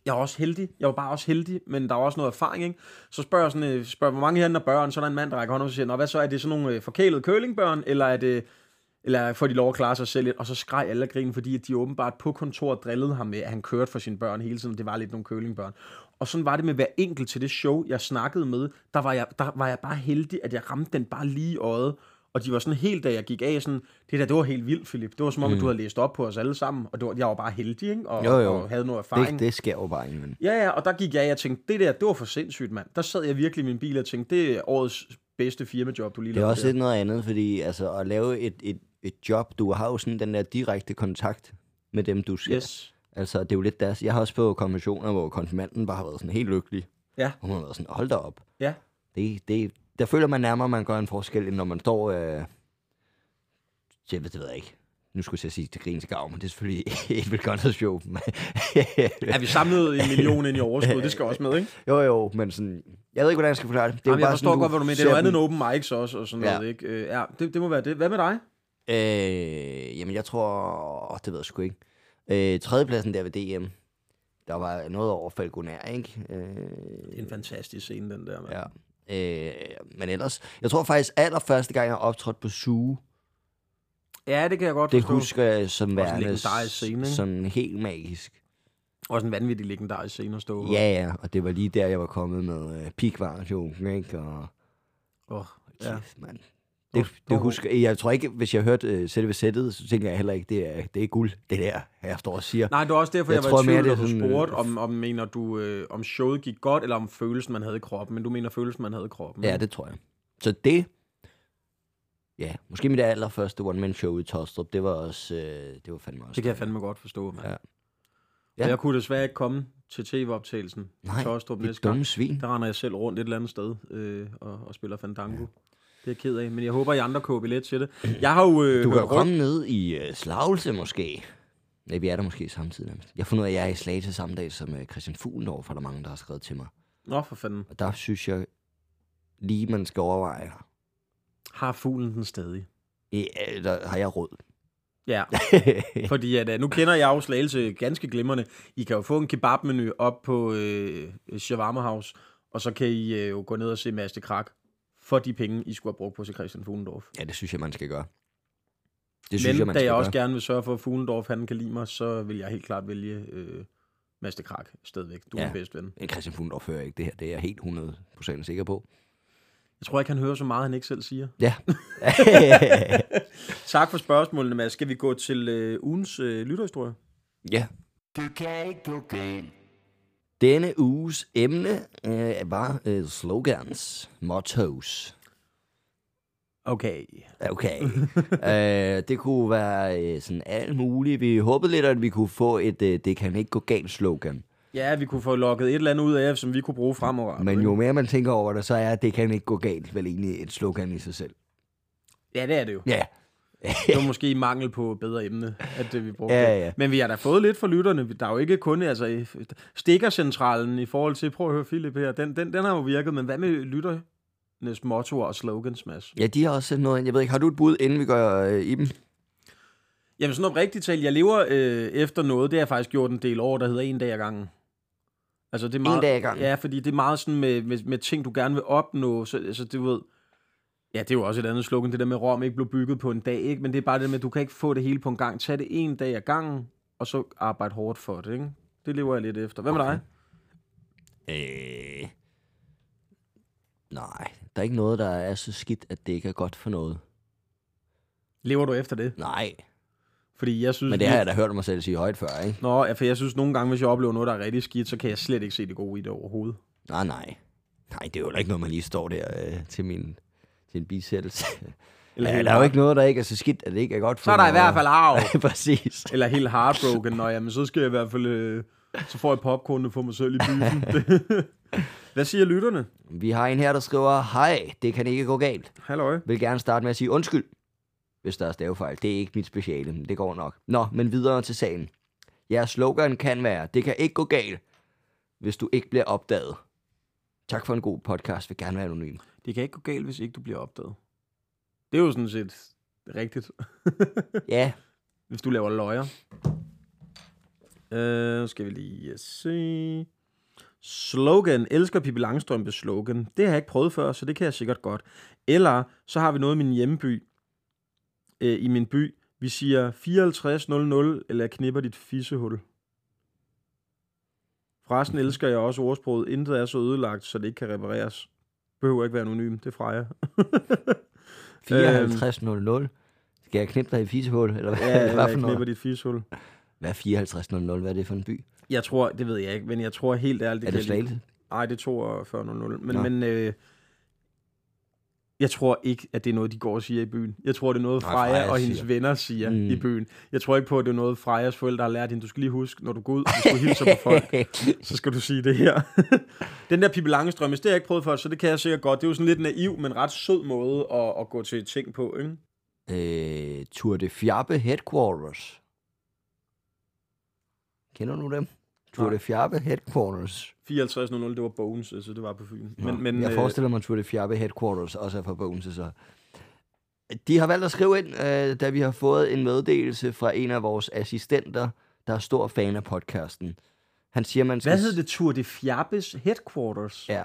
B: jeg var også heldig. Jeg var bare også heldig, men der var også noget erfaring, ikke? Så spørger jeg sådan, øh, spørger, hvor mange hænder børn, så er der en mand, der rækker hånden op og siger, Nå, hvad så, er det sådan nogle øh, forkælede curlingbørn, eller er det, eller får de lov at klare sig selv lidt? Og så skreg alle af grin, fordi at de åbenbart på kontoret drillede ham med, at han kørte for sine børn hele tiden. Det var lidt nogle curlingbørn. Og sådan var det med hver enkelt til det show, jeg snakkede med. Der var jeg, der var jeg bare heldig, at jeg ramte den bare lige i øjet. Og de var sådan helt, da jeg gik af, sådan, det der, det var helt vildt, Philip. Det var som om, mm. du havde læst op på os alle sammen, og det var, jeg var bare heldig, ikke? Og,
C: Jo, jo.
B: og havde noget erfaring.
C: Det, det sker jo bare ikke, men...
B: Ja, ja, og der gik jeg, og jeg tænkte, det der, det var for sindssygt, mand. Der sad jeg virkelig i min bil og tænkte, det er årets bedste firmajob, du lige
C: Det er
B: lavede
C: også
B: der.
C: lidt noget andet, fordi altså, at lave et, et, et job, du har jo sådan den der direkte kontakt med dem, du ser.
B: Yes.
C: Altså, det er jo lidt deres... Jeg har også på konfirmationer, hvor konfirmanden bare har været sådan helt lykkelig.
B: Ja.
C: Og hun har været sådan, hold da op.
B: Ja.
C: Det, det, der føler man nærmere, at man gør en forskel, end når man står... Øh, jeg ved det ved jeg ikke. Nu skulle jeg til at sige til grin til gavn, men det er selvfølgelig et velgørenhedsshow. men-
B: Ja, vi samlede en million ind i overskud, det skal også med, ikke?
C: jo, jo, men sådan... Jeg ved ikke, hvordan jeg skal forklare det. det er jo
B: Jamen, jeg
C: bare
B: forstår
C: sådan,
B: godt, hvad du mener. Det er
C: ser
B: noget andet
C: dem-
B: end open mics også, og sådan
C: Ja.
B: noget, ikke? Øh, ja, det, det må være det. Hvad med dig?
C: Øh, jamen, jeg tror... åh, Det ved jeg sgu ikke. Øh, tredjepladsen der ved DM, der var noget over Falconer, ikke? Øh,
B: Det er en fantastisk scene, den der, mand.
C: ja. Øh, men ellers... Jeg tror faktisk, allerførste gang, jeg optrådte på Suge,
B: ja, det kan jeg godt
C: det
B: forstå.
C: husker jeg som
B: Også en
C: værende
B: legendarisk scene, ikke?
C: sådan helt magisk.
B: Også en vanvittig legendarisk scene at stå på.
C: Ja, ja, og det var lige der, jeg var kommet med øh, pikvarenjoken, ikke? Og
B: Oh,
C: Ja.
B: ja.
C: Kæft, mand.
B: var-
C: Det,
B: det var
C: det husker, jeg tror ikke, hvis jeg hørte øh, selve sættet, så tænker jeg heller ikke, det er, det er guld, det der, jeg står og siger.
B: Nej, det var også derfor,
C: Jeg
B: jeg, jeg var
C: tror
B: i
C: mere,
B: tvivl,
C: det
B: da
C: er
B: du
C: sådan,
B: spurgte,
C: øh,
B: om, om, mener du, øh, om showet gik godt, eller om følelsen, man havde i kroppen. Men du mener følelsen, man havde i kroppen.
C: Ja, det tror jeg. Så det, ja, måske mit allerførste one-man-show i Tostrup, det var også, øh, det var fandme også.
B: Det kan jeg fandme godt forstå, mand. Ja.
C: Ja.
B: Ja.
C: Ja.
B: Jeg kunne desværre ikke komme til tv-optagelsen i
C: Nej,
B: Tostrup
C: det
B: næste gang.
C: dumme svin.
B: Der render jeg selv rundt et eller andet sted øh, og, og spiller Fandango. Ja. Det er jeg ked af, men jeg håber, I andre køber billet til det. Jeg har jo... Øh,
C: Du kan jo
B: hørt
C: komme ned i øh, Slagelse måske. Nej, vi er der måske samtidig. nærmest. Jeg har fundet ud af, at jeg er i Slagelse samme dag som øh, Christian Fuglendorf, for der er mange, der har skrevet til mig.
B: Nå, for fanden.
C: Og der synes jeg lige, man skal overveje,
B: Har fuglen den stadig?
C: øh, der har jeg råd.
B: Ja, fordi at, øh, nu kender jeg jo Slagelse ganske glimrende. I kan jo få en kebabmenu op på øh, Shawarma House, og så kan I øh, jo gå ned og se Mads de Krak for de penge, I skulle have brugt på til Christian Fuglendorf.
C: Ja, det synes jeg, man skal gøre. Det
B: Men
C: synes jeg, man
B: da
C: skal
B: jeg også
C: gøre.
B: gerne vil sørge for, at Fuglendorf han kan lide mig, så vil jeg helt klart vælge øh, Master Krak stadigvæk. Du er
C: Ja.
B: min bedste ven.
C: Men Christian Fuglendorf hører ikke det her. Det er jeg helt 100% sikker på.
B: Jeg tror ikke, han hører så meget, han ikke selv siger.
C: Ja.
B: Tak for spørgsmålene, Mads. Skal vi gå til øh, ugens øh, lytterhistorie?
C: ja.
A: Du kan ikke gå galt.
C: Denne uges emne øh, var øh, slogans, mottos.
B: Okay.
C: Okay. øh, det kunne være øh, sådan alt muligt. Vi håbede lidt, at vi kunne få et øh, det kan ikke gå galt slogan.
B: Ja, vi kunne få lukket et eller andet ud af, som vi kunne bruge fremover.
C: Men jo mere man tænker over det, så er det kan ikke gå galt vel egentlig et slogan i sig selv.
B: Ja, det er det jo.
C: Ja.
B: Det var måske i mangel på bedre emne, at det vi brugte.
C: Ja,
B: det.
C: ja.
B: Men vi har da fået lidt for lytterne. Der er jo ikke kun altså, øh, stikkercentralen i forhold til, prøv at høre Philip her, den, den, den har jo virket, men hvad med lytternes mottoer og slogans, Mads?
C: Ja, de har også sendt noget ind. Jeg ved ikke, har du et bud, inden vi går øh, i dem?
B: Jamen sådan oprigtigt talt, jeg lever øh, efter noget, det har jeg faktisk gjort en del år, der hedder en dag ad gangen. Altså, det er meget,
C: dag ad gangen?
B: Ja, fordi det er meget sådan med, med, med ting, du gerne vil opnå, så altså, du ved... Ja, det er jo også et andet slogan, det der med, at Rom ikke blev bygget på en dag, ikke? Men det er bare det med, at du kan ikke få det hele på en gang. Tag det en dag ad gangen, og så arbejde hårdt for det, ikke? Det lever jeg lidt efter. Hvad med dig?
C: Øh. Nej, der er ikke noget, der er så skidt, at det ikke er godt for noget.
B: Lever du efter det?
C: Nej,
B: Fordi jeg synes...
C: men det har jeg
B: da.
C: da hørt mig selv sige højt før, ikke?
B: Nå, ja, for jeg synes nogle gange, hvis jeg oplever noget, der er rigtig skidt, så kan jeg slet ikke se det gode i det overhovedet.
C: Nej, Ah, nej. Nej, det er jo heller ikke noget, man lige står der øh, til, min, til en bisættelse.
B: Eller
C: ja,
B: helt
C: der er jo
B: hard-
C: ikke noget, der ikke er så skidt, at det ikke er godt for
B: Så er der i hvert fald arv.
C: fald... Præcis.
B: Eller helt heartbroken. Nå, jamen, så skal jeg i hvert fald... Øh, så får jeg popcornene for mig selv i byen. Det- Hvad siger lytterne?
C: Vi har en her, der skriver, hej, det kan ikke gå galt.
B: Halløj.
C: Vil gerne starte med at sige undskyld, hvis der er stavefejl. Det er ikke mit speciale, men det går nok. Nå, men videre til sagen. Jeres slogan kan være, det kan ikke gå galt, hvis du ikke bliver opdaget. Tak for en god podcast, vil gerne være anonym.
B: Det kan ikke gå galt, hvis ikke du bliver opdaget. Det er jo sådan set rigtigt,
C: Ja,
B: Øhm. hvis du laver løjer. Øh, nu skal vi lige se. Slogan. Elsker Pippi Langstrømpe slogan. Det har jeg ikke prøvet før, så det kan jeg sikkert godt. Eller så har vi noget i min hjemby. Øh, I min by. Vi siger 5400, eller jeg knipper dit fissehul. Forresten elsker jeg også ordsproget. Intet er så ødelagt, så det ikke kan repareres. Behøver ikke være anonym. Det er Freja.
C: 5400. Skal jeg knippe dig i fisehul? Eller hvad,
B: Ja, jeg
C: hvad for
B: knipper
C: noget?
B: dit fishul.
C: Hvad er 5400? Hvad er det for en by?
B: Jeg tror, det ved jeg ikke, men jeg tror helt ærligt...
C: er det
B: kan jeg lige-
C: Slagelse?
B: Nej, det er 42.00. Men,
C: Nå.
B: men øh, jeg tror ikke, at det er noget, de går og siger i byen. Jeg tror, det er noget,
C: Nej,
B: Freja,
C: Freja
B: og hendes
C: siger.
B: venner siger
C: Mm.
B: mm. i byen. Jeg tror ikke på, at det er noget, Frejas forældre har lært hende. Du skal lige huske, når du går ud, hvis du hilser på folk, så skal du sige det her. Den der Pippi Langstrøm, det har jeg ikke prøvet før, så det kan jeg sikkert godt. Det er jo sådan lidt naiv, men ret sød måde at, at gå til ting på, ikke?
C: øh, Tour de Fjabe Headquarters. Kender du dem? Tour
B: Nej.
C: de Fjabe Headquarters.
B: 54.00, det var Bones, altså det var på Fyn.
C: Nå,
B: Men, øh, men,
C: jeg forestiller mig, at Tour de Fjabe Headquarters også er fra Bones. Så. De har valgt at skrive ind, øh, da vi har fået en meddelelse fra en af vores assistenter, der er stor fan af podcasten. Han siger, man skal...
B: Hvad hed det? Tour de Fjabbes Headquarters? Ja.
C: Ja,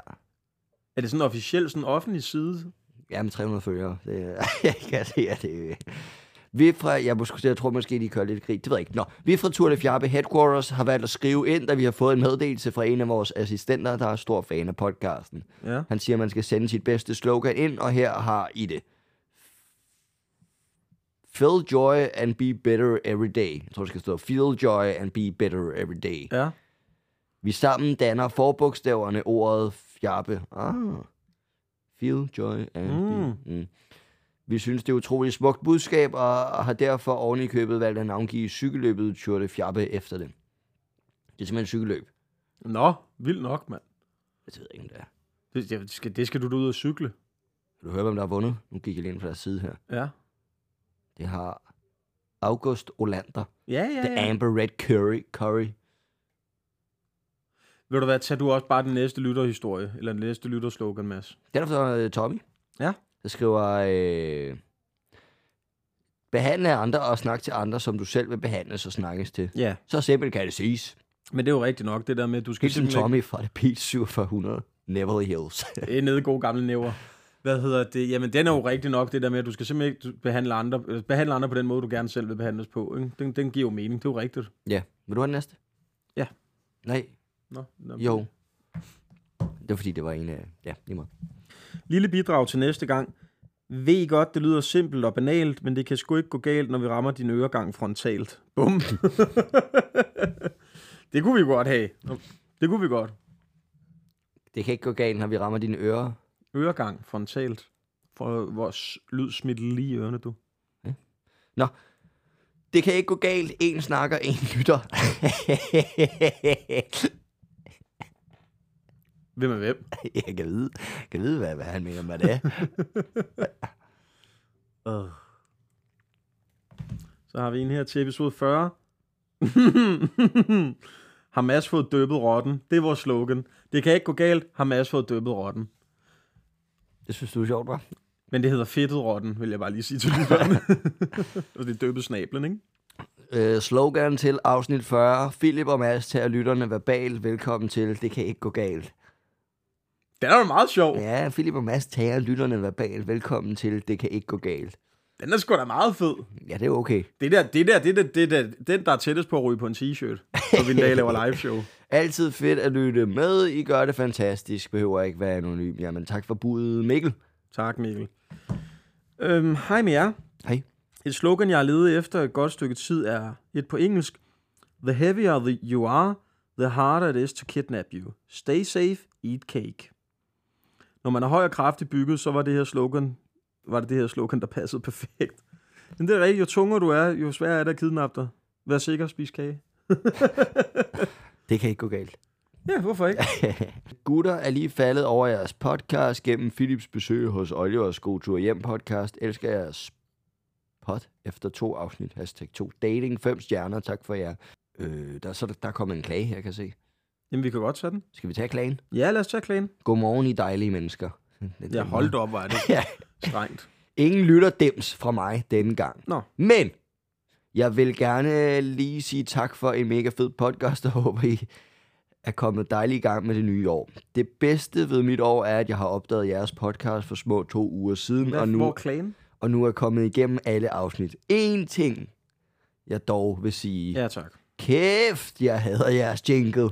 B: Er det sådan en officiel, sådan en offentlig side?
C: ja med 300 følgere. Det, jeg kan se, at det... Vi fra, jeg, måske, jeg tror måske, de kører lidt krig. Det ved jeg ikke. Nå, vi fra Tour de Fjabe Headquarters har valgt at skrive ind, da vi har fået en meddelelse fra en af vores assistenter, der er stor fan af podcasten.
B: Ja.
C: Han siger, at man skal sende sit bedste slogan ind, og her har I det. Feel joy and be better every day. Jeg tror, det skal stå feel joy and be better every day.
B: Ja.
C: Vi sammen danner forbogstaverne ordet fjappe. Ah. Feel joy and mm. be. Mm. Vi synes, det er et utroligt smukt budskab, og har derfor oven i købet valgt at navngive cykelløbet Tour de Fjappe efter det. Det er simpelthen et cykelløb.
B: Nå, vildt nok, mand.
C: Det ved jeg ikke, om det er.
B: Det, det, skal, det skal du da ud og cykle.
C: Vil du høre, hvem der har vundet? Nu gik jeg lige ind på deres side her.
B: Ja.
C: Det har August Olander.
B: Ja, ja,
C: The
B: ja.
C: Amber Red Curry. Curry.
B: Ved du hvad, tag du også bare den næste lytterhistorie, eller den næste lytterslogan, Mads.
C: Den er fra øh, Tommy.
B: Ja.
C: Der skriver... Øh, Behandle andre og snak til andre, som du selv vil behandles og snakkes til.
B: Ja,
C: Så simpelt kan det siges.
B: men det er jo rigtigt nok, det der med, at du skal
C: Helt som Tommy fra det bil 4700. Neverly Hills.
B: Det er nede gode gamle næver. Hvad hedder det? Jamen, den er jo rigtig nok, det der med, at du skal simpelthen ikke behandle andre, øh, behandle andre på den måde, du gerne selv vil behandles på. Ikke? Den, den giver jo mening, det er jo rigtigt.
C: ja. Vil du have den næste?
B: Ja.
C: Nej.
B: Nå, nå.
C: Jo. Det var fordi, det var en af... Ja, lige meget.
B: Lille bidrag til næste gang. Ved I godt, det lyder simpelt og banalt, men det kan sgu ikke gå galt, når vi rammer din øregang frontalt. Bum. det kunne vi godt have. Det kunne vi godt.
C: Det kan ikke gå galt, når vi rammer dine ører.
B: Øregang frontalt. For vores lyd smidt lige i ørerne, du.
C: Det kan ikke gå galt. En snakker, en lytter.
B: Hvem er hvem?
C: jeg kan vide, kan vide hvad, hvad han mener med det.
B: Uh. Så har vi en her til episode 40. har Mads fået døbet rotten? Det er vores slogan. Det kan ikke gå galt, har Mads fået døbet rotten.
C: det synes du er sjovt, hva'?
B: Men det hedder fedtet rotten, vil jeg bare lige sige til lytterne. Og det er døbet snablen, ikke?
C: Øh, slogan til afsnit 40. Philip og Mads tager lytterne verbal. Velkommen til. Det kan ikke gå galt.
B: Den er jo meget sjov. Ja.
C: Ja, Philip og Mads tager lytterne verbal. Velkommen til. Det kan ikke gå galt.
B: Den er sgu da meget fed.
C: Ja, det er okay.
B: Det der, det der, det der, det der, den der er tættest på at ryge på en t-shirt, når vi en dag laver live show.
C: Altid fedt at lytte med. I gør det fantastisk. Behøver ikke være anonym. Jamen, tak for budet, Mikkel.
B: Tak, Mikkel. Øhm, hej med jer.
C: Hej.
B: Et slogan, jeg har ledet efter et godt stykke tid, er et på engelsk. The heavier the you are, the harder it is to kidnap you. Stay safe, eat cake. Når man er høj og kraftigt bygget, så var det her slogan, var det, det her slogan der passede perfekt. Men det er rigtigt, jo tungere du er, jo sværere er det at kidnappe dig. Vær sikker, spis kage.
C: Det kan ikke gå galt.
B: Ja, hvorfor ikke?
C: Gutter er lige faldet over jeres podcast gennem Philips besøg hos Olivers God Tur Hjem podcast. Elsker jeres pot efter to afsnit. Hashtag 2 dating. Fem stjerner. Tak for jer. Øh, der, så er der, der er kommet en klage, jeg kan se.
B: Jamen, vi kan godt tage den.
C: Skal vi tage klagen?
B: Ja, lad os tage klagen.
C: Godmorgen, I dejlige mennesker. Den-
B: Ja, hold da op, hvor er det
C: Ja.
B: strengt.
C: Ingen lytter dems fra mig denne gang.
B: Nå.
C: Men jeg vil gerne øh, lige sige tak for en mega fed podcast, og håber I er kommet dejligt i gang med det nye år. Det bedste ved mit år er, at jeg har opdaget jeres podcast for små to uger siden,
B: Hvad,
C: og
B: nu... Hvor
C: nu,
B: er klagen?
C: og nu er kommet igennem alle afsnit. En ting, jeg dog vil sige.
B: Ja, tak.
C: Kæft, jeg hader jeres jingle.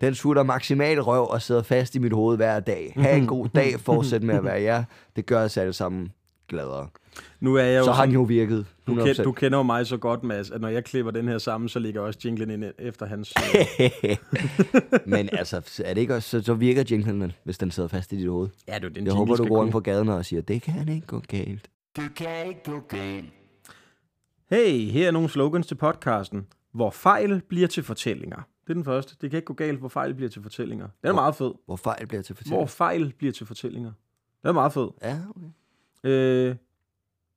C: Den sutter maksimal røv og sidder fast i mit hoved hver dag. Ha' en god dag. Fortsæt med at være jer. Det gør os alle sammen gladere.
B: Nu er jeg jo
C: Så har
B: sådan-
C: den jo virket.
B: Du,
C: 100%.
B: kend, du kender jo mig så godt, Mads, at når jeg klipper den her sammen, så ligger også jinglen ind efter hans... øh,
C: Men altså, er det ikke også, så, så virker jinglen, hvis den sidder fast i dit hoved.
B: ja, det er jo den
C: Jeg håber, du
B: skal
C: går
B: kunne.
C: ind på gaden og siger, det kan ikke gå galt.
A: Du kan ikke gå galt.
B: Hey, her er nogle slogans til podcasten. Hvor fejl bliver til fortællinger. Det er den første. Det kan ikke gå galt, hvor fejl bliver til fortællinger. Den er meget fed.
C: Hvor fejl bliver til fortælling.
B: Hvor fejl bliver til fortællinger. Den er meget fed.
C: Ja, okay.
B: Øh,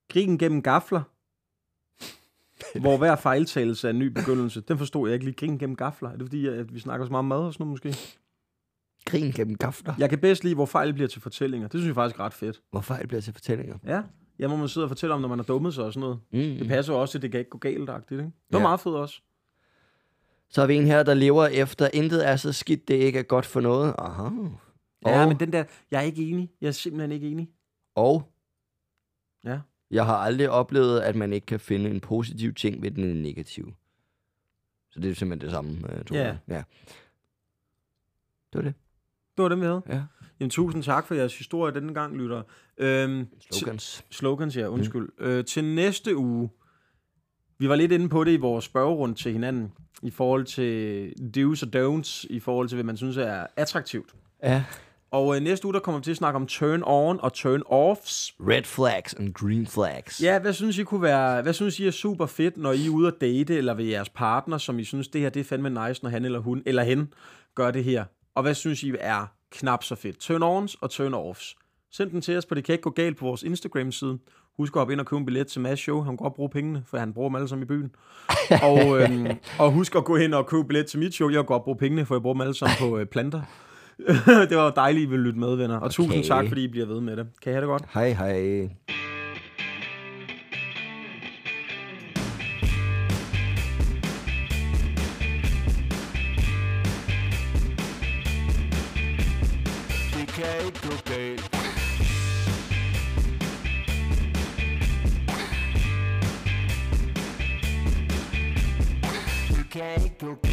B: krigen gennem gafler. hvor hver fejltagelse er en ny begyndelse. Den forstod jeg ikke lige. Krigen gennem gafler. Er det fordi, at vi snakker så meget om mad og sådan noget måske?
C: Krigen gennem gafler. Ja.
B: Jeg kan bedst lide, hvor fejl bliver til fortællinger. Det synes jeg faktisk er ret fedt.
C: Hvor fejl bliver til fortællinger.
B: Ja. Ja, hvor man sidder og fortæller om, når man har dummet sig og sådan noget. Det
C: Mm.
B: passer jo også, at det kan ikke gå galt, ikke? Det var
C: Ja.
B: meget fedt også.
C: Så har vi en her, der lever efter, intet er så skidt, det ikke er godt for noget. Aha. Og,
B: Ja, men den der, jeg er ikke enig. Jeg er simpelthen ikke enig.
C: og
B: Ja.
C: jeg har aldrig oplevet, at man ikke kan finde en positiv ting ved den negative. Så det er simpelthen det samme, øh, tror
B: Ja.
C: jeg. Ja. Det var det.
B: Det var dem, vi havde.
C: Ja.
B: Jamen, tusind tak for jeres historie denne gang, lytter. Øhm,
C: Slogans.
B: Til, slogans, ja, undskyld. Mm. Øh, til næste uge, vi var lidt inde på det i vores spørgerund til hinanden, i forhold til do's og don'ts, i forhold til, hvad man synes er attraktivt.
C: Ja.
B: Og øh, næste uge, der kommer vi til at snakke om turn-on og turn-offs.
C: Red flags and green flags.
B: Ja, hvad synes I kunne være, hvad synes I er super fedt, når I er ude at date, eller ved jeres partner, som I synes, det her det er fandme nice, når han eller hun, eller hen, gør det her. Og hvad synes I er knap så fedt? Turn-ons og turn-offs. Send den til os på Det Kan Ikke Gå Galt på vores Instagram-side. Husk at hoppe ind og købe en billet til Mads Show. Han kan godt bruge pengene, for han bruger dem alle sammen i byen. Og, øhm, og husk at gå hen og købe billet til mit show. Jeg kan godt bruge pengene, for jeg bruger dem alle sammen på øh, planter. det var dejligt, I ville lytte med, venner. Og okay. tusind
C: Okay.
B: tak, fordi I bliver ved med det. Kan I have det godt?
C: Hej, hej.
A: Du kan ikke gå galt. Du kan ikke gå galt.